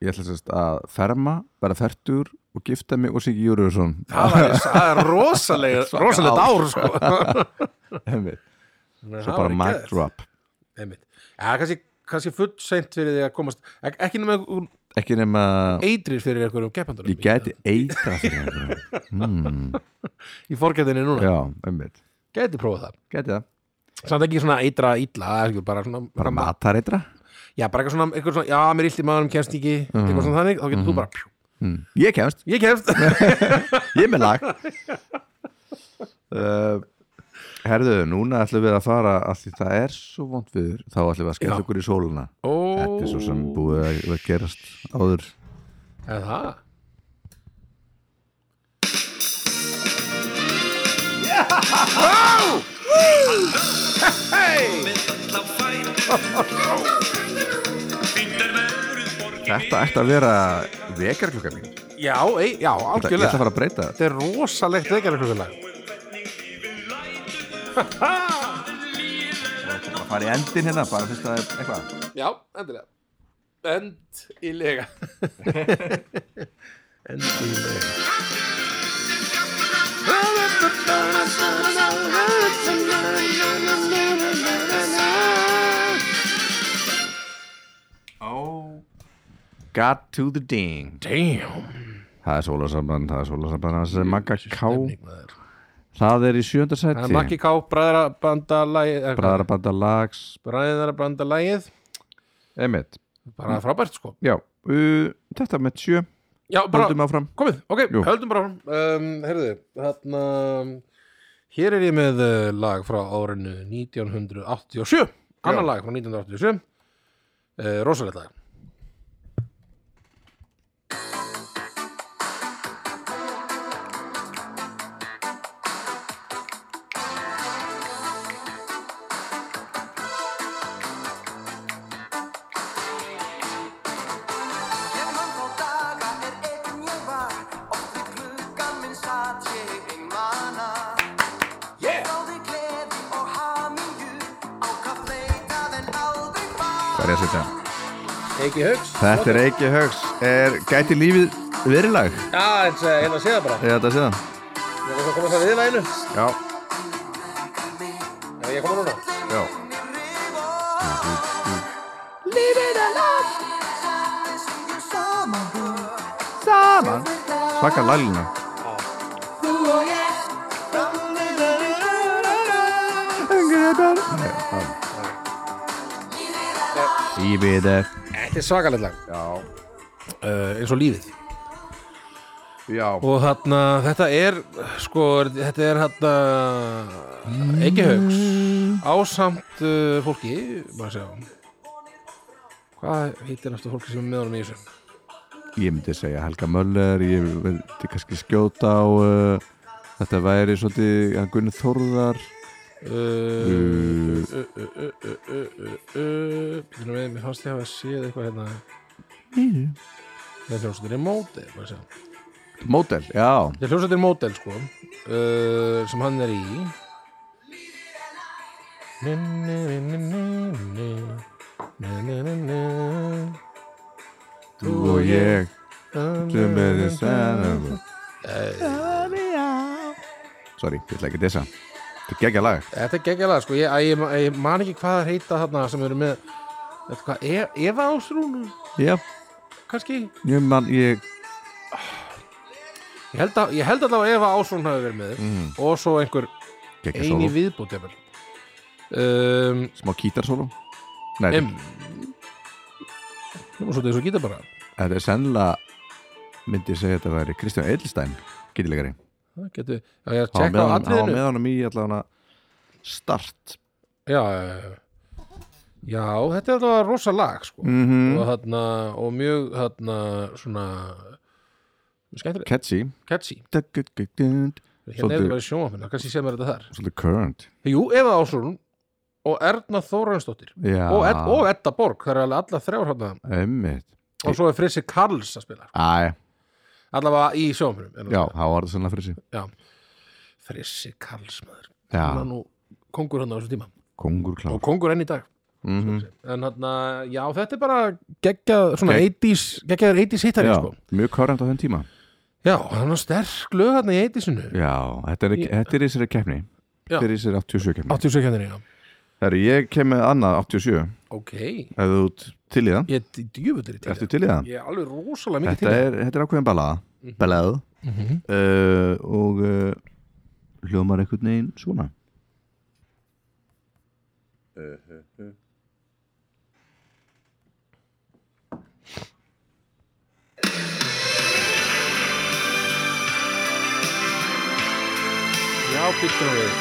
S2: ég ætla sérst að ferma, vera fertur og gifta mig og Siggi Júriðsson
S1: er, það er rosalega,
S2: *laughs* Svaka
S1: rosalega
S2: ár.
S1: dár sko.
S2: Svo
S1: Svo
S2: bara mic drop
S1: einmitt. Já, kannski, kannski full seint fyrir því að komast ek, ekki nema þú
S2: Ekki nema
S1: eitrir fyrir einhverjum keppandunum
S2: ég gæti eitra fyrir *laughs* það.
S1: í forgætinni núna,
S2: Já, einmitt
S1: gæti prófað það
S2: Gæti það
S1: samt ekki svona eitra illa það er ekki bara svona,
S2: Bara matar eitra
S1: já, bara eitthvað svona, eitthvað svona, já, mér illt í maðurum kemst ekki
S2: Mhm.
S1: eitthvað svona þannig, þá getur þú bara pjú,
S2: Ég kemst,
S1: ég
S2: *laughs*
S1: kemst
S2: ég er með *laughs* lag uh, Herðu, núna ætlum við að fara að því það er svo vond viður þá ætlum við að skella
S1: Já.
S2: okkur í sóluna
S1: Ó.
S2: Þetta er svo sem búið að að gerast áður
S1: er það
S2: *laughs* Þetta ætti að vera vekarklukka mín
S1: já, ei, já,
S2: Þetta- Ég ætla að
S1: algjörlega
S2: fara að breyta það
S1: þetta er rosalegt vekjar eitthvað
S2: bara fara í endin hérna, bara fyrst að eitthvað
S1: Já, endilega Endilega Endilega
S2: Oh Got to the ding
S1: Damn
S2: Það er sólarsamband, það er sólarsamband Það er Magga K
S1: Stemning, maður.
S2: Það er í sjönda
S1: Það
S2: sæti
S1: er Maggi K, bræðarabandalægið
S2: Bræðarabanda lags
S1: Bræðarabandalægið
S2: Emmett
S1: Bara frábært sko
S2: Já, uh, þetta með sjö
S1: Já,
S2: Haldum
S1: bara,
S2: áfram
S1: komið, ok,
S2: Jú.
S1: höldum bara áfram. um, Herðu, þarna Hér er ég með uh, lag frá árinu 1987 Annan lag frá 1987 uh, Rosalegt lag
S5: Ég man þá daga er einn ég var Oft við klukkan minn satt ég einmana Ég þáði gleði og hamingju Á hvað fleitað en aldrei
S2: Það er
S5: var
S2: ég að setja
S1: Ekki högst
S2: Þetta er Eiki Högs er, Gæti lífið verilag
S1: Já, eins eh, og ég ætla að segja bara
S2: Ég þetta sé það
S1: Ég ætla að koma það við laginu
S2: Já,
S1: Já, ég koma núna
S2: já Saman Svaka laglina Lífið er
S1: Þetta er svakalegt lag
S2: Já,
S1: uh, Eins og lífið
S2: já
S1: Og þarna, þetta er sko, þetta er þarna ekki haugs ásamt uh, fólki bara sjá hvað heitir næstu fólki sem er með honum í þessu
S2: Ég myndi segja Helga Möller Ég myndi kannski skjóta á uh, Þetta væri svolítið ja, Gunni Þórðar
S1: Uh, uh, uh, uh, uh, uh, uh, uh, Býtum við, mér fannst ég hafa séð eitthvað hérna Það er hljómsveitir mótel bara sjá.
S2: Mótel, já
S1: Það er hljómsveitir mótel sko uh, sem hann er í Ni, ni, ni, ni, ni, ni. Ni, ni, ni, ni.
S2: Þú og ég sem er þið sænum Sorry, ég ætla ekki að dissa Þetta er geggja lag
S1: Þetta er geggjalað, sko, ég, að ég, að ég man ekki hvað það heita þarna sem eru með Þetta hvað, e, Eva Ásrún,
S2: Já,
S1: kannski?
S2: ég man, ég
S1: Ég held, að, ég held allavega að Eva Ásrún hafi verið með mm. og svo einhver
S2: geggja
S1: eini
S2: sóló,
S1: viðbúti um,
S2: smá kítarsóló Nei,
S1: em, Nú svo þetta er svo gíta bara
S2: þetta er sennilega myndi ég segja þetta væri Kristján Edelstein gítilegari
S1: Það getur, já ég er að
S2: Hann
S1: tjekka á
S2: var með honum- hann var
S1: atriðinu
S2: með honum í allavega start
S1: já, já, já, já. já, þetta er allavega rosa lag, sko
S2: Mm.
S1: og, þarna, og mjög, þarna, svona skemmtileg,
S2: Catchy
S1: catchy Hérna er
S2: Svolítið
S1: þetta bara sjónvapinn, kannski sé mér þetta þar
S2: svolítið current
S1: Jú, Eva Ásrún og Erna Þórainsdóttir
S2: Já,
S1: og, Ed, og Edda Borg, það eru alveg alla þrjár hérna
S2: emmitt
S1: og svo er Frissi Karls að spila
S2: Æ,
S1: allavega í sjónvapinum
S2: já, það var það sennilega fyrir sig
S1: Frissi Karls maður hann var
S2: Já,
S1: nú kongur hann á þessu tíma
S2: kongur klár
S1: og kongur enn í dag
S2: Mhm.
S1: en hann að, já þetta er bara geggjað, svona
S2: Gegg-
S1: 80s, geggjaður 80s hittari
S2: Já,
S1: sko.
S2: mjög current á þenn tíma
S1: já, hann var sterk lög hann í 80sinu
S2: Já, þetta er,
S1: Ég-
S2: þetta er í þessari keppni
S1: Já.
S2: Þetta er í þessari 87 keppni
S1: 87 kjöndinni, já
S2: Þegar ég kem með annað 87
S1: ok,
S2: Ef þú ert til í það
S1: ég er djúfutur í
S2: Ertu
S1: tíma
S2: til í það?
S1: ég er alveg rosalega mikið
S2: Þetta
S1: til í Mhm.
S2: er, þetta er ákveðin ballað Ballað uh, Og uh, hljómar einhvern veginn svona
S1: Já, býttum við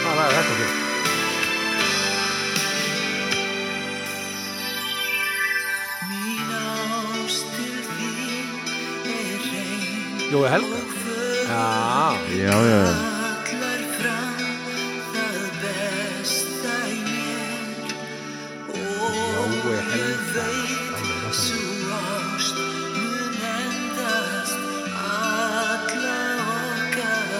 S1: Það er þetta fyrir Jói Helga Já,
S2: Já, já, já
S1: Jói Helga Alveg rosa.
S4: Alla okkar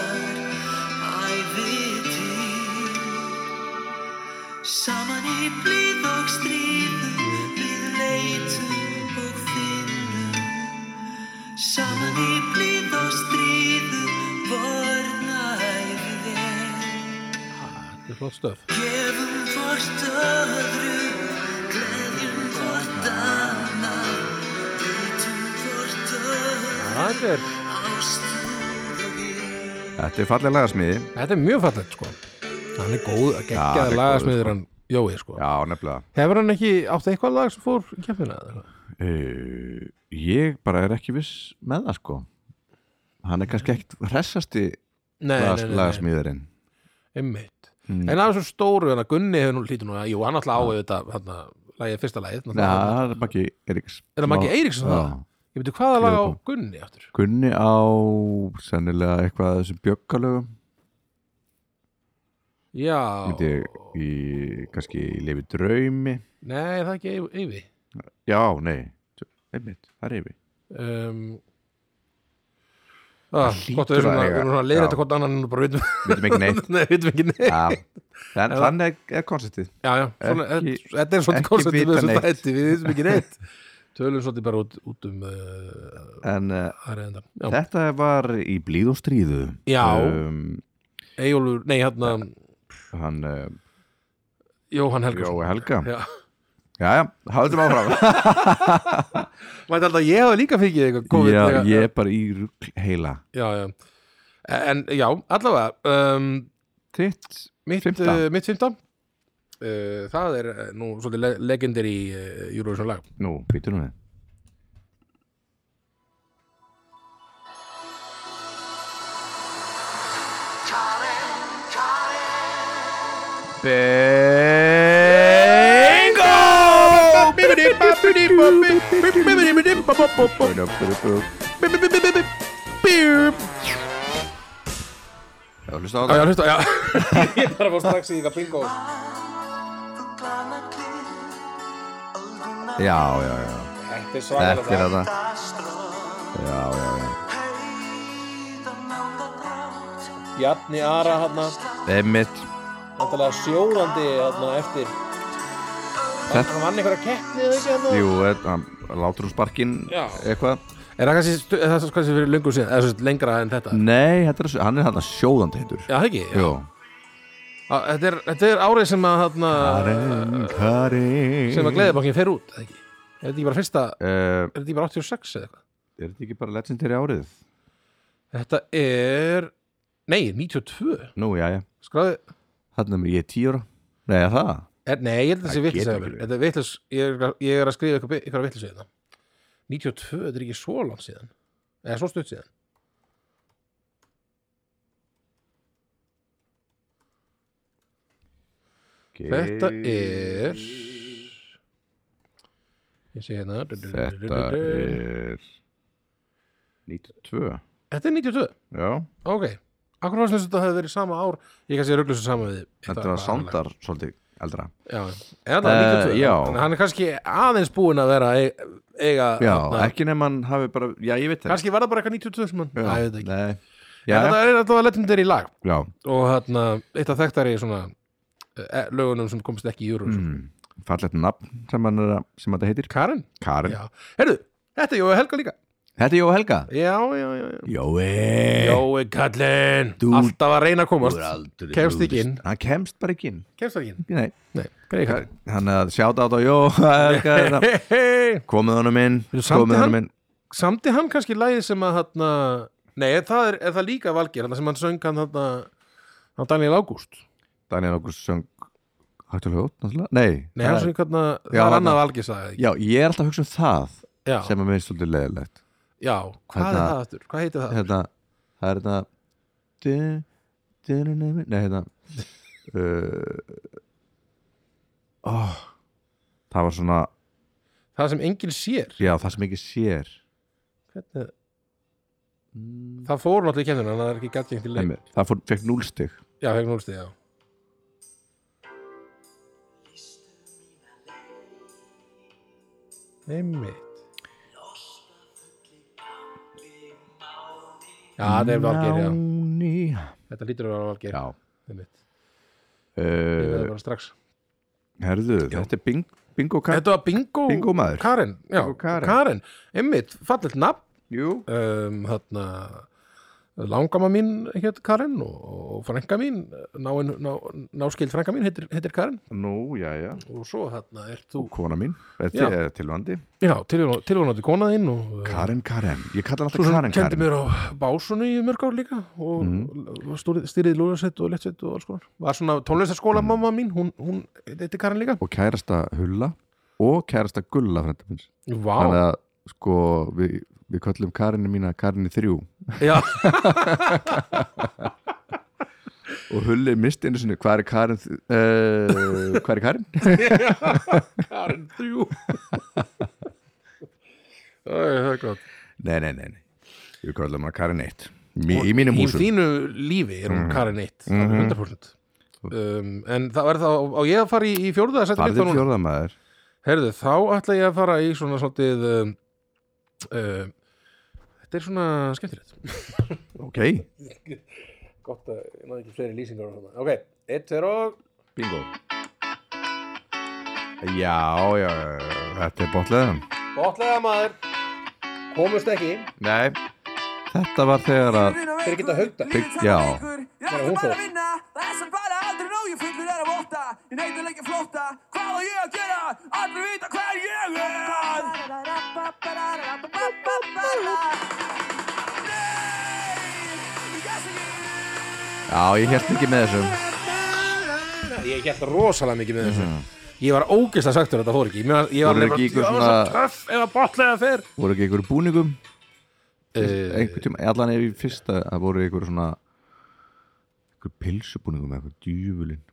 S4: Saman í blíð og stríðu vorna æfi vel
S1: Þetta er flott stöf
S4: Gefum hvort öðru, gleðjum hvort annað Vitum hvort öðru,
S1: Þetta er,
S4: ástuð og við
S2: Þetta er fallega lagasmiði
S1: þetta er mjög fallegt sko Hann er góð að
S2: Já, hann er
S1: geggjað
S2: góður,
S1: lagasmiður
S2: sko.
S1: hann Jói sko
S2: Já, nefnilega
S1: Hefur hann ekki átt eitthvað lag sem fór í kemfina?
S2: uh, Ég bara er ekki viss með það sko Hann er kannski ekkit hressasti
S1: Nei,
S2: lagas,
S1: nei,
S2: lagasmiðurinn
S1: einmitt En það er svo stóru, hann að Gunni hefur nú lítið núna Jú, hann alltaf á auðvitað, hann að lagið fyrsta lagið
S2: Nei,
S1: náttúrulega.
S2: það er Maggi Eiríks
S1: Er það Maggi Eiríksson það?
S2: Já.
S1: Ég veitir hvaða lag á
S2: Klukkan.
S1: Gunni aftur
S2: Gunni á sennilega eitthvað af þessum bjöggalögum
S1: Já,
S2: myndi ég í, kannski í lifi draumi
S1: nei, það er ekki Eyv- Eyvi
S2: Já, nei, einmitt, það er yfir
S1: um, ah,
S2: hlýtur
S1: Gott að við erum
S2: að
S1: svona-
S2: eiga-
S1: við erum svona að leiða
S2: já.
S1: þetta hvort annan en bara vitum
S2: Vitum ekki neitt
S1: *laughs* Nei, vitum ekki neitt
S2: Já, en þannig er konceptið
S1: Já, já, svona,
S2: Ekki-
S1: þetta- þetta er svona
S2: ekki
S1: konceptið
S2: vita
S1: með þessu
S2: neitt.
S1: þætti, við vitum ekki neitt Tölum svolítið bara út, út um uh,
S2: En uh,
S1: aðra endan Já,
S2: þetta var í blíð og stríðu
S1: Já.
S2: um,
S1: Eyjólfur, nei, hérna
S2: Hann, uh,
S1: Jóhann Helgason
S2: Jói Helga
S1: Já.
S2: Já, já, haldum áfram
S1: *laughs* Mætti alltaf að ég hafa líka fengið eitthvað COVID
S2: Já,
S1: þegar-
S2: ég er bara í rugl heila
S1: já, já En já, allavega um,
S2: Þitt,
S1: Mitt
S2: Fimmta.
S1: fimmta, uh, mitt fimmta. Uh, Það er uh, nú svolítið le legendary uh, Eurovision lag
S2: nú, býtur hún við
S5: Karen, Karen
S1: Bingo!
S2: Já, hlusta á
S1: Já,
S2: það
S1: já, hlusta, já Ég bara fór strax í ykkar bingo
S5: Þú glana klið Ölduna
S2: Já, já, já,
S1: Þetta er
S2: þetta er
S1: svakalega það
S2: þetta
S5: daströð
S2: Já, já, já
S5: Heiðan nálda drátt
S1: Bjarni Ara hann
S2: Einmitt
S1: Náttúrulega sjórandi hann eftir
S2: Þetta-
S1: Hann vann einhverja keppni eða ekki hann
S2: Jú, eh, hann látur hún sparkin
S1: Já.
S2: eitthvað
S1: Er það kannski, stu- er það kannski fyrir löngu síðan eða svo sagt lengra en þetta Já,
S2: Nei, þetta er, hann er hann að sjóðandi heitur
S1: það ekki
S2: Jú
S1: Á, Þetta er, þetta er árið sem að hann
S2: Karin, Karin
S1: sem að gleðibankin fer út eða ekki Er þetta ekki bara fyrsta
S2: Eh,
S1: Er þetta ekki bara 86 eða eitthvað
S2: Er þetta ekki bara legendary árið?
S1: Þetta er Nei, 92
S2: Nú, já, já
S1: Skráði
S2: Þannig að ég er tíu ára Nei, er það
S1: Er, nei, ég held að það sé
S2: Það
S1: vitlis
S2: getur
S1: að
S2: ekki
S1: mér
S2: verið.
S1: Þetta er vitlis, ég, er- ég er að skrifa ykkur, ykkur vitlis við þetta 92, þetta er ekki svo langt síðan Eða svo stutt síðan Þetta er Ég sé hérna
S2: Þetta er 92
S1: Þetta er 92,
S2: Já
S1: ok Akkur varst þess að þetta hefði verið sama ár Ég kannski rugglu svo sama við
S2: Þetta var sándar svolítið eldra
S1: Já, en þetta var 92
S2: Eh,
S1: Þannig
S2: já.
S1: að Hann er kannski aðeins búinn að vera að eiga, eiga
S2: Já,
S1: þarna-
S2: ekki nefn hann hafi bara Já, ég veit það
S1: Kannski var það bara eitthvað 92 sem hann
S2: Já,
S1: Æ, ég veit ekki.
S2: Nei
S1: Já,
S2: Já,
S1: þetta
S2: já,
S1: er alltaf legendir í lag
S2: já
S1: og hérna, eitt af þekktari svona eh, lögunum sem komst ekki í júru
S2: mm, Fallegt nafn sem, hann er, að- sem þetta heitir
S1: Karen,
S2: Karin
S1: já, heyrðu þetta er Jói Helga líka
S2: Þetta er Jó Helga
S1: Já, já, já, já.
S2: Jói
S1: Jói Kallin, alltaf að reyna að komast Kemst ekki inn
S2: Hann kemst bara ekki inn
S1: Kemst ekki inn,
S2: Nei
S1: nei, greið Kallin
S2: Hann að sjáta á þetta Jó
S1: *laughs*
S2: Helga hérna.
S1: Hei, hei,
S2: Komið honum inn
S1: Þú samdi
S2: Komið honum
S1: hann?
S2: inn
S1: samti hann kannski lægið sem að hérna, nei, er það er, er það líka valgir, þarna sem hann söng hann hérna, hann Daniel Ágúst
S2: Daniel August söng Hægt og hljótt náttúrulega Nei,
S1: Nei, hann
S2: það er-
S1: söng hérna, það
S2: Já,
S1: er
S2: þarna.
S1: annað valgir sagði,
S2: Já, ég er alltaf að hugsa um það
S1: já, já,
S2: sem að minnst svolítið leðilegt
S1: já, hvað er
S2: Þarna-
S1: það aftur, hvað heitir það?
S2: Hérna, það er þetta du, du, du, du, Nei,
S1: *laughs*
S2: hérna uh, oh, Það var svona
S1: Það sem enginn sér
S2: Já, það sem ekki sér
S1: Hvernig? Það fór náttúrulega í kemdina, en það er ekki gætt gengt í leik.
S2: Nei, Það fór, fekk núlstig
S1: Já, hefur núlstið, já. Einmitt. Já, þetta er valgir, já.
S2: Náni
S1: Þetta lítur að vera valgir.
S2: Já
S1: Einmitt. Ég veit
S2: uh,
S1: það bara strax.
S2: Herðu, þetta er bing, bingo kart
S1: Þetta var bingo,
S2: Bingo maður.
S1: Karen, já,
S2: Bingo Karen.
S1: Karen. Einmitt, fallet nafn
S2: Jú,
S1: um, þarna langama mín hétt Karen og, og frænka mín náin, ná, náskild frænka mín heitir, heitir Karen
S2: nú, já, já
S1: og svo þarna er þú
S2: Kona mín,
S1: Já.
S2: þetta er tilvandi
S1: já, tilvonandi kona þinn og eh,
S2: Karen Karen, ég kalla hann
S1: svo
S2: alltaf
S1: sem
S2: Karen Mhm.
S1: kendi
S2: Karen
S1: mér á básunni í mörg ár líka og mm. styrðið lúðarsett og lettsett og alls konar var svona tónlistaskóla mamma mín hún, hún heitir Karen líka
S2: Og kærasta Hulla og kærasta Gulla frænda minns
S1: Vá,
S2: Þannig að sko við, við köllum Karinu mína Karinu þrjú
S1: já,
S2: og Hulli misti einu sinni, hvað er Karin uh, hvað er Karin?
S1: Karen þrjú Æ, Það er gott
S2: *laughs* nei, nei, nei, nei, við köllum hana Karin eitt Mí, í mínum
S1: í
S2: húsum
S1: þínu lífi er hún Karin 1 mm 100% um, en það verður þá, á ég að fara í, í fjórða sæti mitt þá
S2: farðið
S1: núna?
S2: fjórðamaður
S1: Herðu, þá ætla ég að fara í svona svolítið um, um, þetta er svona skemmtilegt
S2: ok,
S1: gott að ég náði ekki fleiri lýsingar á þarna ok, 1, 2 og
S2: bingo já, já, já, þetta er botleðan
S1: botlega maður komust ekki,
S2: nei, þetta var þegar að
S1: þeir geta haugta
S2: Bygg- já.
S5: Ég er
S1: Bara
S5: ekki
S1: hún
S5: bara
S1: fór.
S5: að vinna Það sem bara aldrei ná Ég fullur er að votta Ég neyta leikja flotta Hvað á ég að gera? Allir vita hver ég er Nei Ég gæs
S2: já, ég held
S5: ekki
S2: ekki með þessum
S1: ég geta rosalega mikið með þessu ég var ógeðslega sagtur að þetta fór ekki Mér var- ég var
S2: Mhm.
S1: nefnilega-
S2: Voru ekki
S1: ég
S2: ykkur
S1: var svo
S2: svona-
S1: töff ef að botlega fer
S2: voru ekki ykkur í búningum
S1: Eh,
S2: einhvern tíma, allan ef í fyrsta það voru ykkur svona ykkur pilsubúningum eða eitthvað djúvulinn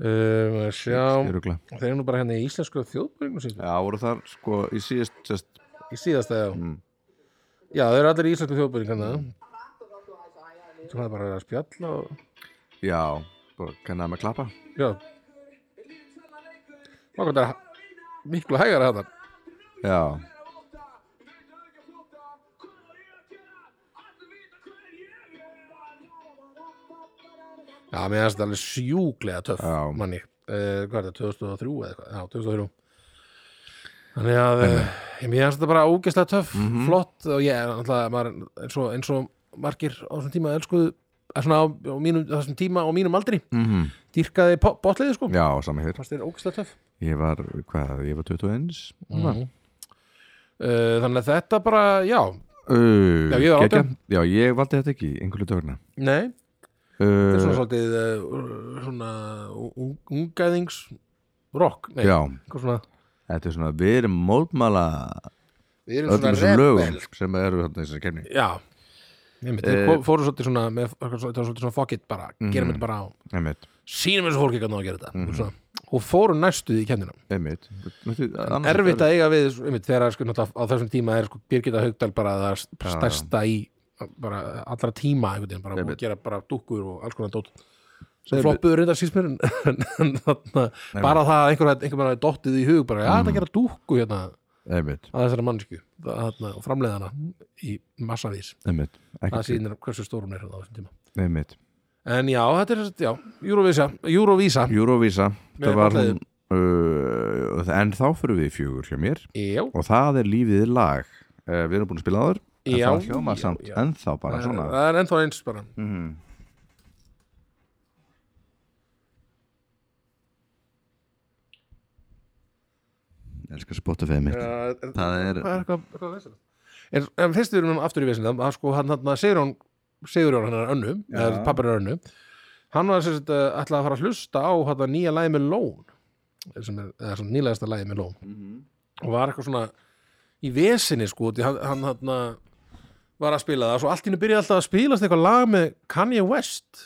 S1: um, að sjá
S2: Örugla.
S1: Þeir eru nú bara hérna í íslensku þjóðbúningum sínum
S2: Já, voru þar sko í síðast sest,
S1: Í síðasta, já
S2: Mm.
S1: Já, þeir eru allir í íslensku þjóðbúningum hérna Þú hafði bara að spjalla og...
S2: Já, bara kennaði með klappa
S1: Já Má gott er miklu hægara hérna
S2: Já,
S1: Já, mér finnst þetta alveg sjúklega töff
S2: Já.
S1: manni, uh, hvað er þetta, 2003 eða eitthvað, já, 2003 Þannig að uh, mér finnst þetta bara ógeðslega töff,
S2: Mhm.
S1: flott og ég er náttúrulega, maður, eins, og, eins og margir á þessum tíma elskuðu eh, svona á, á mínum, þessum tíma á mínum aldri mm -hmm. dýrkaði po- botliði sko
S2: Mhm. já, saman hér
S1: fannst þér ógeðslega töff
S2: Ég var, hvað, ég var 21
S1: Mhm.
S2: mm.
S1: uh, Þannig að þetta bara, já,
S2: uh,
S1: Já, ég var
S2: geggja.
S1: 18.
S2: Já, ég valdi þetta ekki, einhverju dörna
S1: nei þetta er svona
S2: uh,
S1: svolítið uh, svona un ungaðings rock, nei,
S2: Já,
S1: eitthvað svona
S2: þetta er svona, við erum mótmála
S1: Við erum
S2: öllum
S1: svona
S2: þessum
S1: rebel
S2: lögum sem eru þarna í þessari kemni
S1: Já Nefnir, þeir
S2: Eh, Mhm.
S1: kom- fóru svolítið svona með, þetta var svolítið svona fuck it bara, gerum þetta bara á
S2: Einmitt,
S1: sínum þessu fólki kannu að gera þetta
S2: Mhm.
S1: svona, og fóru næstuð í kemnina
S2: einmitt Mættu- annars-
S1: erfitt að eiga við, einmitt, þegar sko, náttúrulega á þessum tíma er sko, Birgitta Haugdal bara það stærsta í bara allra tíma einhvern veginn, bara
S2: Einmitt.
S1: að gera bara dúkkur og alls konar dót sem floppuður reyndar síst mér en, en þarna, bara það að einhver, einhver mann hafi dottið í hug bara, já,
S2: Mm.
S1: það gera dúkku hérna
S2: Einmitt,
S1: að þessara mannsku þarna, og framleiðana í massavís
S2: einmitt,
S1: það
S2: ekki
S1: sýnir hversu stór hún er hérna á þessum tíma
S2: Einmitt
S1: En já, þetta er, já, Eurovisa, Eurovisa
S2: Eurovisa,
S1: Með
S2: það var
S1: fallegum.
S2: hún uh, En þá fyrir við í fjögur hjá mér
S1: Já,
S2: og það er lífið er lag uh, við erum búin að spila áður en
S1: Já,
S2: það hljómar
S1: já,
S2: samt
S1: já.
S2: ennþá bara svona
S1: það er ennþá eins bara
S2: elskar Spotify mitt
S1: Það
S2: það er
S1: er eitthvað, eitthvað vesinn En, en fyrst við erum aftur í vesinn það sko, hann hann Sigurjón Sigurjón hann er önnu, eða pappar er önnu hann var sérst að ætla að fara að hlusta á hann nýja lagi með Lón sem er, eða svona nýlegasta lagi með Lón og var eitthvað svona í vesinni sko, því hann, hann, hann var að spila það og svo allt í hennu byrjaði alltaf að spilast eitthvað lag með Kanye West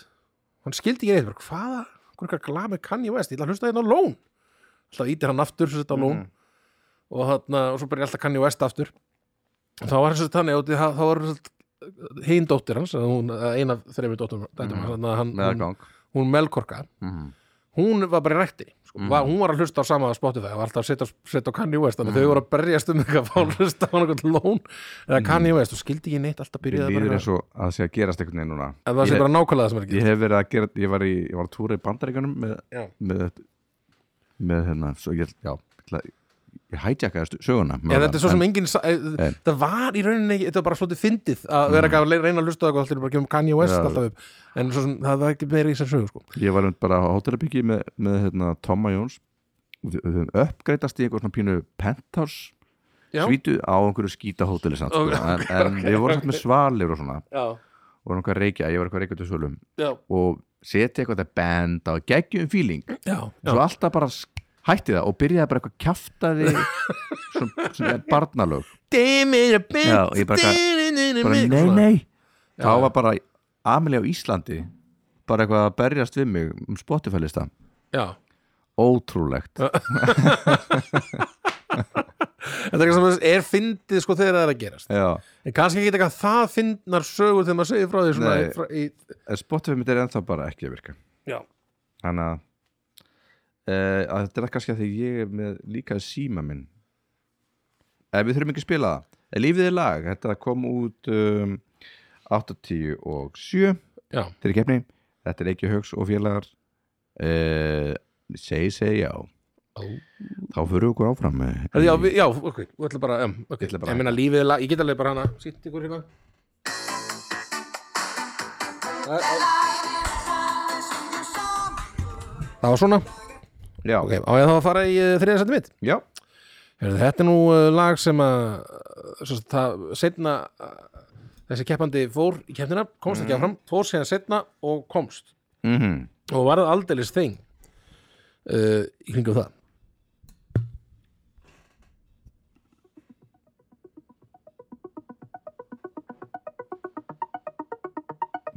S1: hann skildi ekki eitthvað, hvaða hvað er lag með Kanye West, ég ætla að hlusta hérna á Lón alltaf ítir hann aftur sérst á Lón
S2: Mhm.
S1: og, þarna, og svo byrja alltaf Kanye West aftur og þá var hans þannig og það- þá var hinn dóttir hans eða hún, eða ein af þreimur dóttum dætum hans þannig að hann,
S2: með að
S1: hún,
S2: Mhm. gang Mhm.
S1: hún Melkorka hún var bara í rættinni sko. var, hún var að hlusta á sama að Spotify og var alltaf að setja, setja á Kanye West þannig að þau
S2: Mhm.
S1: voru að berjast um eitthvað að fá að hlusta á einhvern lón eða Kanye West og skildi ekki neitt alltaf
S2: við
S1: byrjaði
S2: Mhm. líður
S1: bara
S2: eins og að það sé að gerast einhvern veginn núna
S1: að það sé
S2: ég,
S1: bara nákvæmlega það sem er ekki
S2: ég hef verið að gera ég var, í, ég var að túra í bandaríkanum með,
S1: Já.
S2: með, með hérna svo ég, já, ég ætla- ég hætjakaði söguna
S1: En þetta er svo sem engin eh,
S2: En- Mm.
S1: Það var í rauninni, ekki- þetta var bara svolítið fyndið að vera ekki að le- reyna að lusta á eitthvað allir bara kemur Kanye West
S2: Já.
S1: alltaf upp en svo sem, það var ekki meira í sér sögu sko.
S2: ég var einmitt bara á hótelabyggi með, með hérna, Toma Jóns og við við höfum uppgreitast í eitthvað svona pínu penthouse
S1: Já.
S2: svítu á einhverju skýta hóteli samt, sko.
S1: Ok,
S2: en, en við vorum samt með svalir og svona
S1: Já,
S2: og vorum eitthvað að reykja, ég var eitthvað að reykja til svölum
S1: já,
S2: og setja eitthvað þetta band á geggjum feeling,
S1: já,
S2: svo alltaf bara s- hætti það og byrjaði bara eitthvað kjaftaði svona, svona barnalög
S1: Dimir að
S2: Já, ég bara- bara nei, nei þá var bara Amelie á Íslandi bara eitthvað að berjast við mig um Spotify-lista,
S1: Já,
S2: ótrúlegt
S1: þetta er eitthvað sem er fyndið sko þegar það er að gerast
S2: já
S1: En kannski ekki eitthvað það fyndnar sögur þegar maður segir frá því svona
S2: Nei.
S1: í- frá, í,
S2: En Eh, Spotify mitt er ennþá bara ekki að virka
S1: Já,
S2: þannig að, e, að þetta er kannski að því ég er með líka síma minn en við þurfum ekki að spila það en lífið er lag, þetta kom út um, 80 og 7
S1: já,
S2: til keppni, þetta er ekki högs og félagar e, segi, segi já þá fyrir okkur áfram eh.
S1: Herðu, já, við, já, ok, við ætlum bara, um, ok,
S2: ætla bara-
S1: ég meina lífið, er lag- ég get alveg bara hana, sýtt ykkur hérna. Æ, á. Það var svona,
S2: já,
S1: ok, á ég þá að fara í uh, þriðasætti mitt.
S2: já,
S1: Herðu, þetta er nú uh, lag sem að, svo sem það, setna, uh, þessi keppandi fór í keppnina, komst
S2: Mhm.
S1: ekki áfram, fór síðan setna og komst
S2: mm
S1: og varð aldeilis þing uh, í kringum það.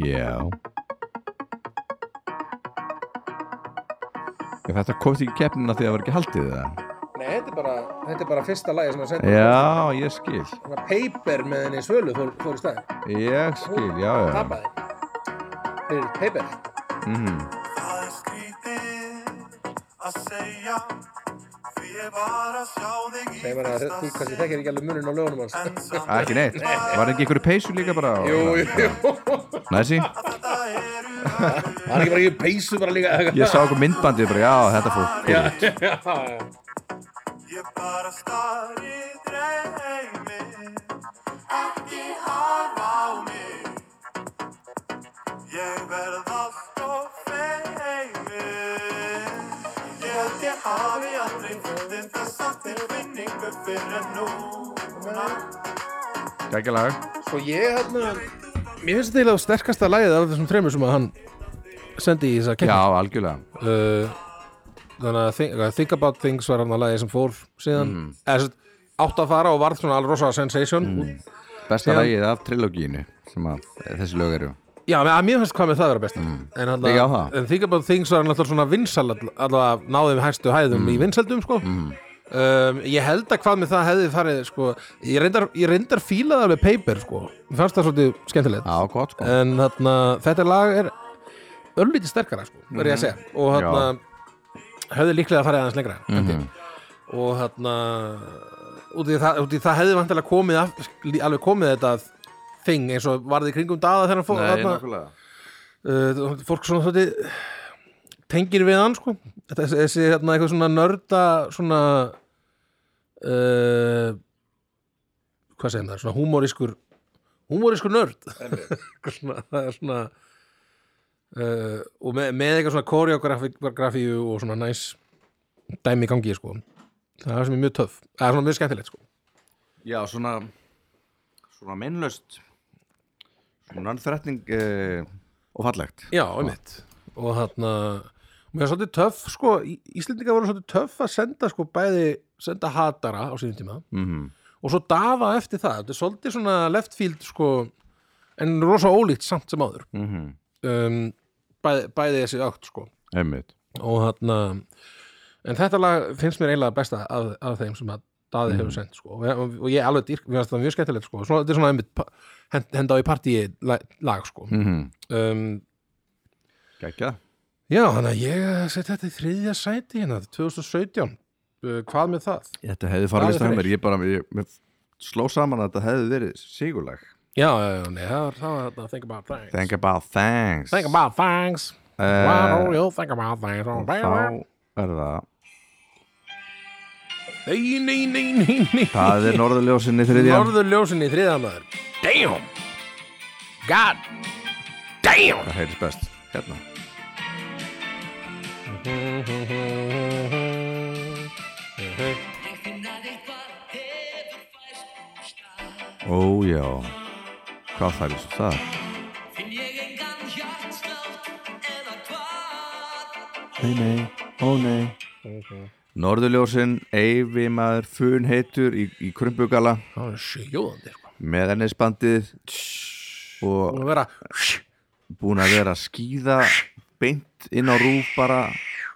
S2: já Ég, Þetta komst ekki í keppnina því að það var ekki haldið það
S1: Nei, þetta er bara, þetta er bara fyrsta lagi sem að setna.
S2: Já, ég skil
S1: svona paper með henni svölu fór, fór í stað
S2: Ég skil, já, já
S1: tapaði fyrir paper
S2: Mhm.
S3: Það er skrítið að segja Því ég var að sjá þig í
S1: segir maður að þú kannski þekkir ekki alveg munin á lögunum hans
S3: En samt
S2: Ah, Ekki neitt, var ekki einhverju peysu líka bara
S1: jú, jú,
S2: Næsi,
S3: þetta eru að
S1: hann er ekki bara ekki peysu bara líka
S2: ég sá okkur myndbandið bara, já, þetta fór já.
S3: Ég bara starri dreymi Ekki harfa á mig Ég verð allt og feimi Ég held ég hafi aldrei fundið þessa tilfinningu fyrir en núna
S2: Gækjalag
S1: svo ég hérna mér finnst þetta eiginlega sterkasta lagið af þessum þreymur sem að hann sendi í þessa
S2: Já,
S1: kemur
S2: algjörlega
S1: uh, þannig að think, að think About Things var hann að lagið sem fór síðan
S2: Mhm.
S1: eða sem sagt, átt að fara og varð svona alveg rosa sensation
S2: Mhm. Besta
S1: Já.
S2: lagið af trilogíinu sem að þessi lög eru
S1: Já, men- að mér finnst hvað með það vera besta en,
S2: Mhm. Ég á
S1: alla,
S2: það.
S1: en Think About Things var náttúrulega svona vinsal allavega náðum hæstu hæðum
S2: Mhm.
S1: í vinsaldum sko. um, ég held að hvað með það hefði farið sko. ég, reyndar, ég reyndar fílaði alveg paper sko. mér fannst það svolítið skemmtilegt
S2: Já, gott sko
S1: en þarna, þetta lag er örlítið sterkara sko, verð ég að segja og þarna hefði líklega farið aðeins lengra mm og þarna út í það, út í það hefði vantilega komið af, alveg komið þetta þing eins og varði í kringum daða þegar hann fór
S2: Nei,
S1: þarna,
S2: nokkulega
S1: uh, fólk svona þetta tengir við hann sko Þetta- þessi, þessi hérna eitthvað svona nörda svona uh, hvað segir maður, svona húmóriskur húmóriskur nörd *laughs* svona, það er svona uh, og með, með eitthvað svona koreografíu og svona næs dæmi í gangi sko það er sem er mjög töff, það er svona mjög skemmtilegt sko
S2: Já, svona Svona meinlaust Svona nannþrætning uh, og fallegt
S1: Já, einmitt og þarna, og mér er svolítið töff sko, Í- Íslendingar voru svolítið töff að senda sko bæði, senda hatara á sínum tíma
S2: Mhm.
S1: og svo dafa eftir það, þetta er svolítið svona left field sko, en rosa ólíkt samt sem áður
S2: Mhm.
S1: um, bæði, bæði þessi átt sko
S2: Einmitt
S1: og þarna en þetta lag finnst mér eiginlega besta af, af þeim sem að Daði hefur sendt sko. og, og ég alveg dýrk, mér finnst það mjög skemmtilegt sko. Svo, þetta er svona einmitt pa- hend, henda á í partíi lag, lag sko.
S2: mm
S1: um,
S2: Gækjað
S1: Já, þannig að ég eh, seti þetta í þriðja sæti hérna, 2017. Uh, hvað með það?
S2: Þetta hefði
S1: Daði
S2: farið lista hjá
S1: Freyr.
S2: mér, ég bara ég, mér sló saman að þetta hefði verið sigurlag
S1: Já, já, já, nei, það var það var þarna Think About Things.
S2: Think about thanks
S1: Think about things.
S2: Eh,
S1: Why don't you think about things?
S2: Þá er það
S1: Nei, nei, nei, nei, nei
S2: Það er norðurljósinni þriðja
S1: Norðurljósin í þriðja maður Damn God Damn
S2: Það heyrðis best Hérna Ó já Hvað fælir svo það? Nei, nei, ó nei Norðurljósin, Eyvi maður, Fun heitur í, í Krumbugala
S1: Það er sjóðandi sko
S2: með ennisbandið og
S1: Búin að vera
S2: búin að vera að skýða beint inn á rúf bara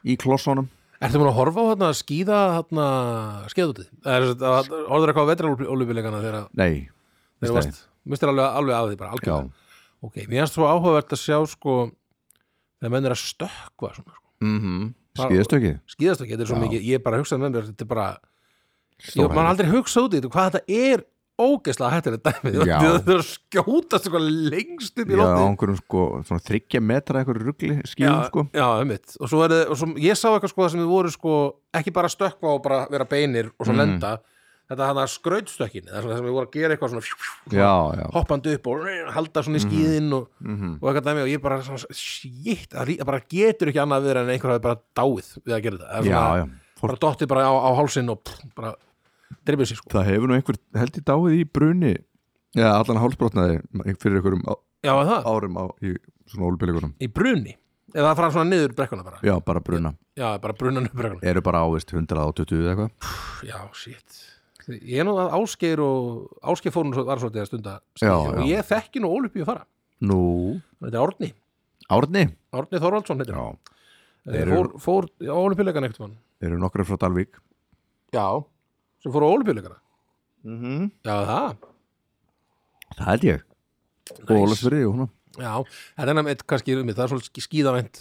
S2: í klossunum
S1: Ertu múin að horfa á hérna skýða hérna skeiðútið? Horður eitthvað á vetralólubilegana þegar
S2: Nei,
S1: þegar
S2: Nei.
S1: varst Mistir alveg, alveg af því bara algjörn Ok, mér finnst svo áhugavert að sjá sko þegar menn er að stökkva svona sko.
S2: mm -hmm. skýðastökið
S1: skýðast ekki, þetta er svo
S2: Já.
S1: mikið ég bara hugsaði með mér, þetta er bara ég
S2: Stórhættulegt.
S1: man aldrei hugsað út í þetta, hvað þetta er ógeðslega hættilega dæmi *laughs*
S2: Já.
S1: þetta er að skjótast eitthvað lengst upp í
S2: Já, á
S1: lóti
S2: einhverjum sko, svona þryggja metra eitthvað ruggli skýðum sko
S1: já, einmitt og svo er þið, og svo, ég sá eitthvað sko sem þið voru sko ekki bara stökkva og bara vera beinir
S2: Mm.
S1: og svo lenda, þetta hann að skrautstökkin það er svona það sem við voru að gera eitthvað svona fjú, fjú,
S2: Já, Mm. já,
S1: hoppandi upp og halda svona í skíðin og,
S2: Mhm.
S1: og eitthvað dæmi og ég bara svona, shit, það lí- það bara getur ekki annað við en einhver hafi bara dáið við að gera þetta Það er
S2: já,
S1: svona-
S2: já. Fólk,
S1: bara dottið bara á, á hálsinn og pff, bara drifið sér sko
S2: Það hefur nú einhver held í dáið í bruni Já, allan hálsbrotnaði fyrir einhverjum á-
S1: Já, er það,
S2: árum á, í svona ólbíleikunum
S1: í bruni eða það fara svona niður brekkuna bara
S2: Já, bara bruna,
S1: Já, bara brunan upp brekkuna
S2: eru bara ávist 120 eða eitthvað
S1: Já, shit Ég er nú að Ásgeir og Ásgeir fór nú svo, var svolítið að stunda
S2: Já,
S1: skíði og
S2: já.
S1: ég þekki nú ólupið að fara
S2: Nú,
S1: Þetta er Árni,
S2: Árni
S1: Árni Þorvaldsson heitir
S2: Já,
S1: hann
S2: þeir
S1: fór, fór á ólupjuleikana ekkert mann
S2: eru nokkra frá Dalvík
S1: Já, sem fór á ólupjuleikana
S2: mm -hmm.
S1: Já, það,
S2: Það held ég Og
S1: Nice.
S2: Ólafsfyrði og svona
S1: já, þetta er nefnir kannski um mig, það er svolítið skíðavænt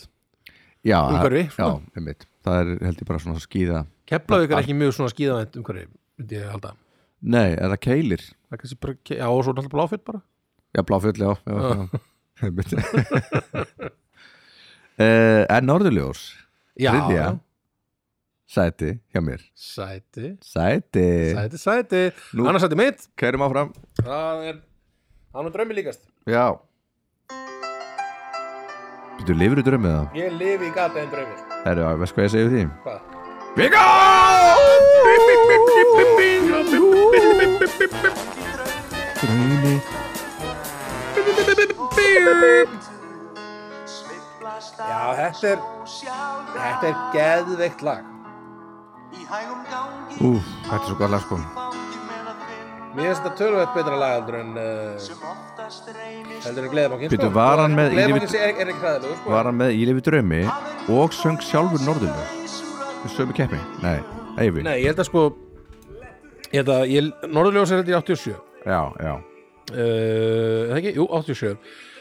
S2: Já,
S1: Umhverfi,
S2: það- já, einmitt Það er held ég bara svona skýða
S1: Keplavík er ekki mjög svona skíðavænt um hverju, myndi ég halda
S2: Nei, er það keilir?
S1: Það er kannski bara, já, og svo er alltaf bláfett bara
S2: Já, bláfjöld, já, já, já.
S1: Ah.
S2: *laughs* Einmitt uh, En Norðurljós
S1: Já,
S2: Þriðja.
S1: já.
S2: Sæti hjá mér
S1: sæti
S2: Sæti,
S1: Sæti, sæti,
S2: Nú-
S1: annars sæti mitt
S2: Kærum áfram
S1: Það er, hann er draumi líkast
S2: Já Þú lifir í drömmið það?
S1: Ég lifi í gata en draumir
S2: Herru, já, veist hvað ég segi við því?
S1: Hvað?
S2: Bingo! Draumi
S1: Já, þetta er, þetta er geðveikt lag
S2: Úf, þetta er svo gott lag sko
S1: Mér finnst þetta tölvægt betra lag heldur en uh, heldur en gleðbankinn
S2: Bíddu, var hann með-
S1: Gleðbankinn er, er ekki hræðilegur sko.
S2: Var hann með Í lifi draumi og söng sjálfur Norðurljós Við sömu keppi? Nei, Eyvi
S1: Nei, ég held að sko Ég held að, ég, Norðurljós er þetta í 87 uh,
S2: Já, já
S1: er það ekki? Jú, 87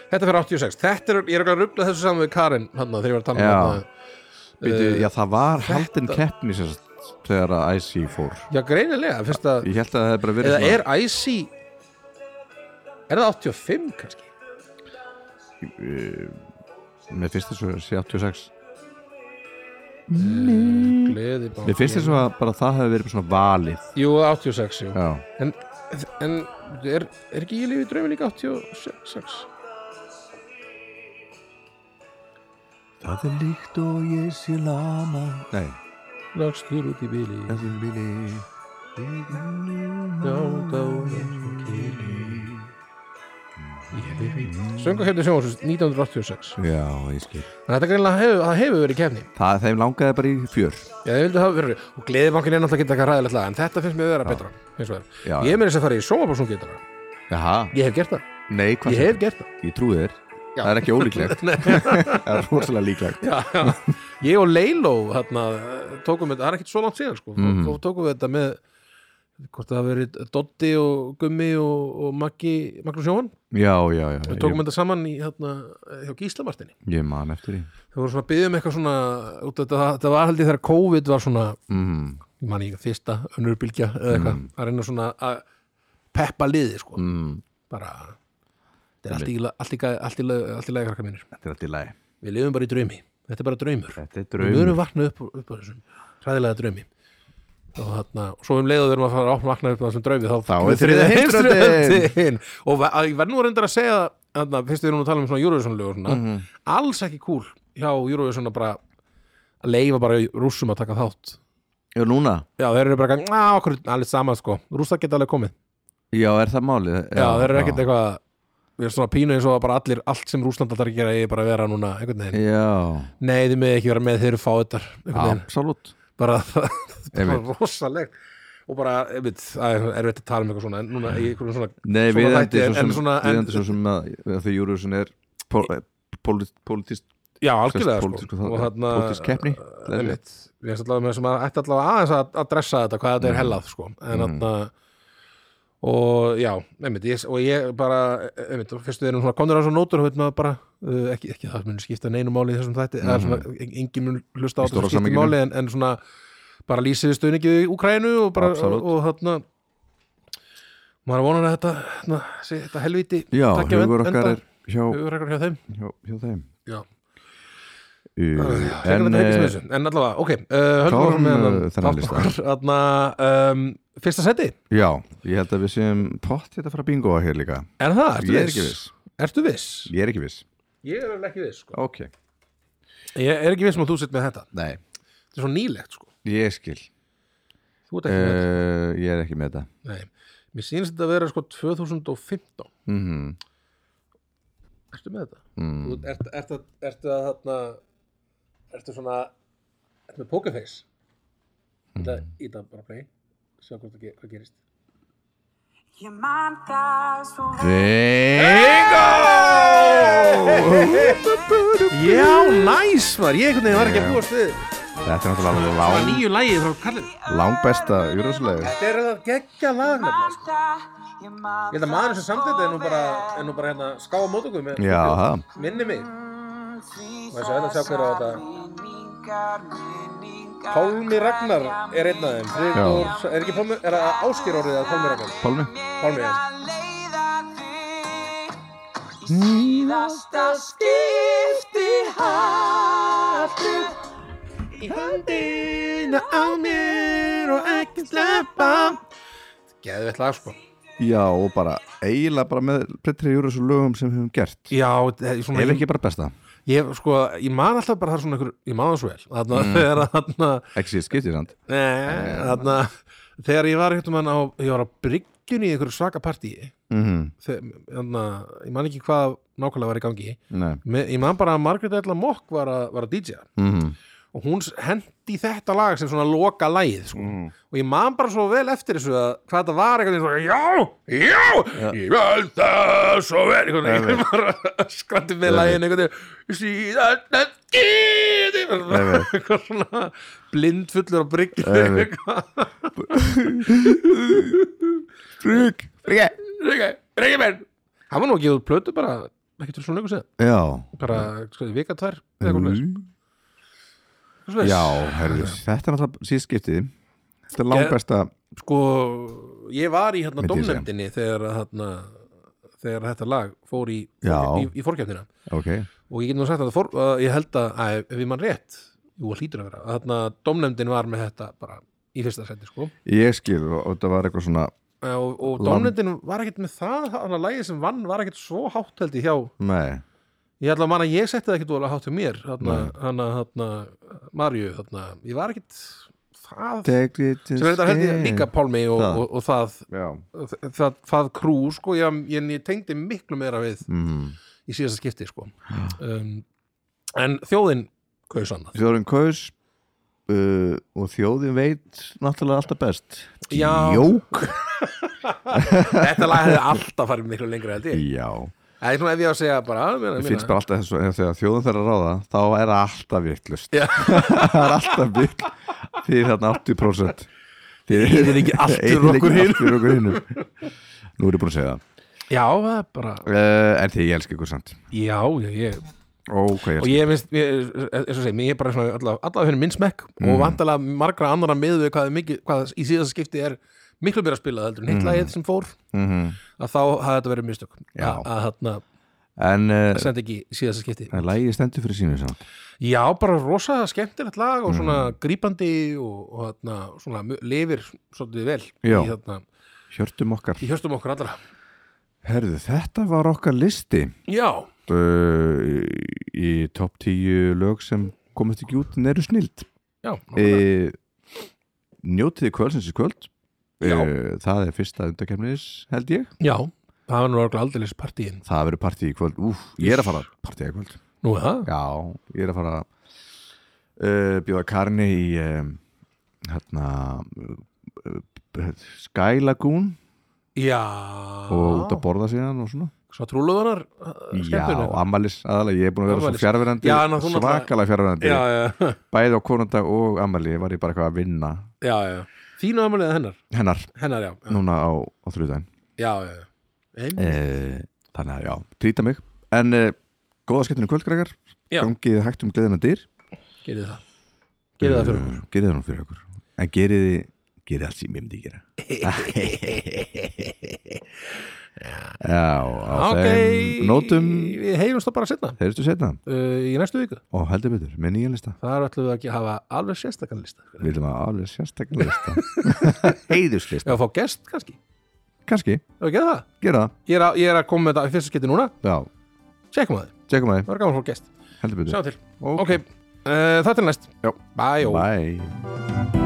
S1: Þetta fyrir 86 Þetta er, ég er ekki að rugla þessu saman við Karin hann þegar ég var að tala um
S2: Já.
S1: þarna. eh,
S2: Bíddu, Já, það var haldin keppni sem sagt þegar að IC fór
S1: Já, greinilega, fyrst að
S2: Ég held að það hefði bara verið
S1: Eða
S2: svona-
S1: er Icy Er það 85 kannski?
S2: Mér finnst þessu að sé 86
S1: Gleði bara
S2: Mér finnst þessu að bara það hefði verið svona valið
S1: Jú, 86, jú
S2: Já
S1: En, en er, er ekki ég lifið draumi líka 86?
S2: Það er líkt og ég sé lama Nei,
S1: Lagstur út í bíli Já,
S2: þessum vili
S1: þá Söngu hefði sjónvarsins 1986
S2: Já, ég skil
S1: En Þetta greinlega hefur, það hefur verið kefni
S2: Það þeim langaði bara í fjör
S1: Já, ég vildi hafa verið Og gleðibankin er náttúrulega ekki eitthvað ræðilegt lag En þetta finnst mér vera betra finnst mér.
S2: Já, já.
S1: Ég meiri þess að fara í sjónvarparsungitara
S2: Jaha,
S1: Ég hef gert það,
S2: nei, hvað
S1: ég
S2: sem-
S1: hef gert það
S2: Ég trúi þér
S1: Já.
S2: Það er ekki
S1: *laughs*
S2: ólíklegt *laughs* Það er rosalega líklegt
S1: já, já. ég og Leiló hérna, tókum þetta, það er ekkert svo langt síðan sko. mm. þó tókum við þetta með hvort það hafi verið Doddi og Gummi og, og Maggi, Magnús Jóhann
S2: Já, já, já
S1: við tókum
S2: Ég,
S1: þetta saman í, hérna, hjá Gíslamartinni
S2: ég man eftir því
S1: þau voru svona byggðum eitthvað svona út, þetta, þetta var held ég þegar COVID var svona
S2: mm.
S1: ég man ekki fyrsta önnurbylgja eða eitthvað að reyna svona að peppa liði sko.
S2: Mm.
S1: bara þetta er allt í la- allt í ga- allt í la- allt í lagi krakkar mínir
S2: Þetta er alltaf í lagi
S1: við lifum bara í draumi, þetta er bara draumur
S2: Þetta er
S1: við
S2: draumur
S1: verum vakna upp, upp á þessum hræðilega draumi og þarna, og svo um leiðu þurfum að fara að vakna upp á þessum draufið þá,
S2: Þá er þriðja heimsstyrjöldin.
S1: heimsstyrjöldin. og ve- að- ég verð nú reyndar að segja það, þarna, fyrst við erum að tala um svona Eurovision lög
S2: Mm.
S1: svona,
S2: Mhm.
S1: alls ekki cool hjá Eurovision að bara að leifa bara rússum að taka þátt
S2: Já, núna
S1: já þeir eru bara að ganga, á, okkur, allir sama sko rússar geta alveg komið,
S2: Já, er það málið?
S1: já, þeir eru ekkert
S2: já.
S1: eitthvað við erum svona pínu eins og að bara allir allt sem rússland alltaf gera eigi bara að vera núna einhvern veginn,
S2: Já,
S1: nei þið með ekki vera með þeir eru fáiðar, einhvern veginn
S2: absolutt
S1: bara *laughs* það það er
S2: Einmitt.
S1: bara rosalegt og bara, einmitt, það er erfitt að tala um eitthvað svona en núna í einhverjum svona
S2: Nei,
S1: svona
S2: við
S1: þætti,
S2: endur
S1: en-
S2: svo sem,
S1: en svona,
S2: við
S1: en,
S2: endur svo sem að, að því Júruðsson er pól, pólit, pólitist
S1: já, algjörlega
S2: pólitísku
S1: sko.
S2: þátt-
S1: og þarna
S2: pólitísk eh, keppni,
S1: uh,
S2: leiðilegt.
S1: einmitt, við erum allavega með sem að ætti allavega aðeins að, að dressa þetta hvað þetta er hellað sko.
S2: Mm.
S1: en þarna og já, einmitt, ég, og ég bara einmitt, og fyrst við erum svona komnir á svona nótur og veit maður bara, uh, ekki, ekki að það muni skipta neinu máli í þessum þætti, eða svona engin mun hlusta á
S2: Í
S1: þetta
S2: stóra
S1: sem skipta
S2: samhenginu.
S1: máli en, en svona bara lýsið stuðningi í Ukrænu og bara,
S2: Absolutt.
S1: og þarna maður vonar að þetta, na, sé, þetta helvíti
S2: Já,
S1: taki að
S2: hugur
S1: en-
S2: okkar
S1: enda-
S2: er hjá,
S1: hugur okkar hjá þeim
S2: hjá, hjá þeim
S1: já
S2: Uh,
S1: en,
S2: En eh,
S1: en, en allavega, ok uh, höldum áfram
S2: klárum,
S1: með þennan
S2: eh, þennan
S1: þátt
S2: lista.
S1: okkar. Þarna, um, fyrsta seti,
S2: já, ég held að við séum pott þetta fara bingoa hér líka
S1: er það? Ertu
S2: Ég er ekki viss
S1: Ertu viss?
S2: Ég er ekki viss
S1: Ég er alveg ekki viss sko.
S2: Ok,
S1: Ég er ekki viss um að þú sitt með þetta
S2: nei,
S1: Þetta er svo nýlegt sko
S2: ég skil
S1: Þú ert ekki með þetta
S2: uh, Ég er ekki með þetta
S1: Nei. Mér sýnist þetta að vera sko 2015
S2: mm
S1: Ertu með þetta?
S2: mm.
S1: Þú ert, ert, ert, ertu að þarna Ertu svona Ertu með pokerface? Þetta í það bara play Sjá hvort það ge- hvað gerist
S6: Ég man það svo
S2: Bingo!
S1: Já, næs var, ég einhvern veginn var ekki að búast við
S2: Þetta er náttúrulega lang,
S1: nýju lægið frá Karlin
S2: langbesta júruðslega
S1: Þetta er það geggja lag nefnilega, sko.
S6: vel. Ég man
S1: Ég held að maður sem samtætti er nú bara, er nú bara hérna, skáa mót okkur með
S2: Já, það
S1: minni mig
S6: Má
S1: Má ég sjá hérna, sjá hver á þetta?
S6: þetta
S1: Pálmi Ragnar er einn af þeim Friðdór,
S2: Já.
S1: er ekki Pálmi, er það áskýr orðið að Pálmi Ragnar
S2: Pálmi
S1: Pálmi, já
S6: Síðasta skipti hattu
S1: Í höndina á mér og ekki sleppa Geðvett lag sko
S2: Já, og bara eiginlega bara með betri júruðslega lögum sem við höfum gert
S1: Já, það er svona
S2: Ef ekki bara besta
S1: Ég, sko, ég man alltaf bara það er svona einhver, ég man það svo vel Þarna, þegar að, þarna,
S2: Ekki séð skiptið samt
S1: nei, þarna Þegar ég var hérna á, ég var á bryggjunni í einhverju svaka partíi
S2: mm
S1: þannig að ég man ekki hvað nákvæmlega var í gangi
S2: Nei
S1: Me, ég man bara að Margaret Ella Mock var að, var að DJ
S2: mm
S1: og hún hendi þetta lag sem svona loka lagið sko. og ég man bara svo vel eftir þessu að hvað þetta var eitthvað svona, já, já, ég vel það svo vel eitthvað, ég
S2: Einmitt.
S1: bara skrandi með lagin einhvern veginn síðan að geti
S2: Einmitt.
S1: eitthvað svona blindfullur á bryggju
S2: Einmitt. Frug Frug
S1: reykja menn hann var nú að gefa út plötu bara ekki til svona ykkur séð
S2: Já
S1: bara, sko, vika tvær eða eitthvað svoleiðis.
S2: Mm.
S1: Svo veist.
S2: Já, herrðu, þetta er náttúrulega síð skiptið Þetta er langbesta
S1: sko, ég var í hérna
S2: Myndi ég segja.
S1: domnefndinni þegar að þarna þegar þetta lag fór í,
S2: Já.
S1: í, í fórkjöfnina
S2: Ok
S1: og ég get nú sagt að, það fór, að ég held að, að ef ég mann rétt, jú að hlýtur að vera að þarna domnefndin var með þetta bara í fyrsta seti sko
S2: Ég skil og og þetta var eitthvað svona
S1: Eh, og, og
S2: Lam-
S1: domnefndin var ekkert með það þannig að lagið sem vann var ekkert svo hátt held ég hjá
S2: Nei
S1: ég held að manna ég setti það ekkert vola hátt hjá mér þarna, hana, þarna, Marju þarna, ég var ekkert það,
S2: Take it
S1: sem er þetta held ég líka Pálmi og,
S2: Það.
S1: og, og það
S2: Já
S1: það, það, það krú sko, ég, ég, ég tengdi miklu meira við
S2: mm.
S1: í síðasta skipti sko. um, en þjóðin kaus annað
S2: Þjóðurinn kaus uh, og þjóðin veit náttúrulega alltaf best
S1: Já.
S2: Jók
S1: þetta lag hefði alltaf farið miklu lengra held ég
S2: Já
S1: það er svona ef ég á að segja bara meina,
S2: Mér finnst bara alltaf þessu ef þegar þjóðin þarf að ráða þá er það alltaf vittlust
S1: Já.
S2: *laughs* það er alltaf vittl því þarna 80% því
S1: Þið
S2: *laughs*
S1: er ekki allt fyrir okkur hinum.
S2: fyrir okkur hinnum nú er ég búin að segja það
S1: já, það er bara
S2: uh, en því ég elski ykkur samt
S1: já, já, ég,
S2: Ó, hvað ég
S1: og
S2: elski
S1: ég finnst ég, eins og segi, ég er bara svona allavega allavega fyrir minn smekk og vantalega margra annara miðu við hvað, er mikið, hvað í síðasta skipti er miklu meira spilað heldur en hitt lagið sem fór
S2: mm
S1: að þá hafði þetta verið mistök
S2: Já.
S1: að, að, að,
S2: en
S1: það
S2: uh,
S1: sendi ekki síðasta skipti
S2: lægi stendur fyrir sínu samt
S1: já, bara rosa skemmtilegt lag og svona
S2: Mm.
S1: grípandi og, og þarna, svona mu- lifir svolítið vel
S2: Já.
S1: í, þarna,
S2: Hjörtum okkar
S1: í höstum okkur allra
S2: Herðu, þetta var okkar listi
S1: já,
S2: uh, í topp 10 lög sem komast ekki út en eru snild
S1: já,
S2: e, Njótiði kvöldsins í kvöld e,
S1: Já.
S2: Það er fyrsta undakefnis held ég
S1: já það var nú örugglega aldeilis partíin
S2: Það verður partí í kvöld Úf, ég er að fara partí í kvöld
S1: nú er það,
S2: Já, ég er að fara uh, bjóða karni í um, hérna uh, uh, Sky Lagoon
S1: já
S2: og út að borða síðan og svona
S1: svo trúluðunar eh,
S2: Já, ammalis aðalega, ég er búin að vera
S1: Afmælis.
S2: svo fjárverandi
S1: Já, en þú náttúrulega-
S2: svakalega fjárverandi
S1: já, já,
S2: bæði á konundag og ammali var ég bara eitthvað að vinna
S1: já, já þínu amalið hennar,
S2: hennar
S1: hennar já já,
S2: núna á, á þrjúðan
S1: já, já, Einmitt.
S2: e, þannig að já, trýta mig en e, góða skemmtunum kvöldgregar
S1: Já.
S2: gangið hægt um gleðina dyr
S1: gerið það gerið það fyrir okkur
S2: Eh, gerið það nú fyrir okkur en gerið þið, gerið allt sem ég myndi
S1: *laughs*
S2: gera *laughs* já, á
S1: ok,
S2: þeim nótum
S1: við heyrumst það bara setna
S2: heyrstu setna
S1: uh, í næstu viku
S2: og heldur betur með nýja lista
S1: þar ætlum við ekki að hafa alveg sérstakann lista
S2: við viljum að alveg sérstaklega lista heiðuslista,
S1: Já, fá gest kannski
S2: kannski,
S1: Hefur ekki það?
S2: gera það
S1: Ég er, að, ég er að koma með þetta í fyrsta skipti núna
S2: já,
S1: Tjekkum að þið,
S2: tjekkum að
S1: það var gaman að fá gest
S2: þið heldur
S1: Sjá eh,
S2: betur
S1: til, ok, okay. Uh, það til næst
S2: Já.
S1: Bæjó
S2: bye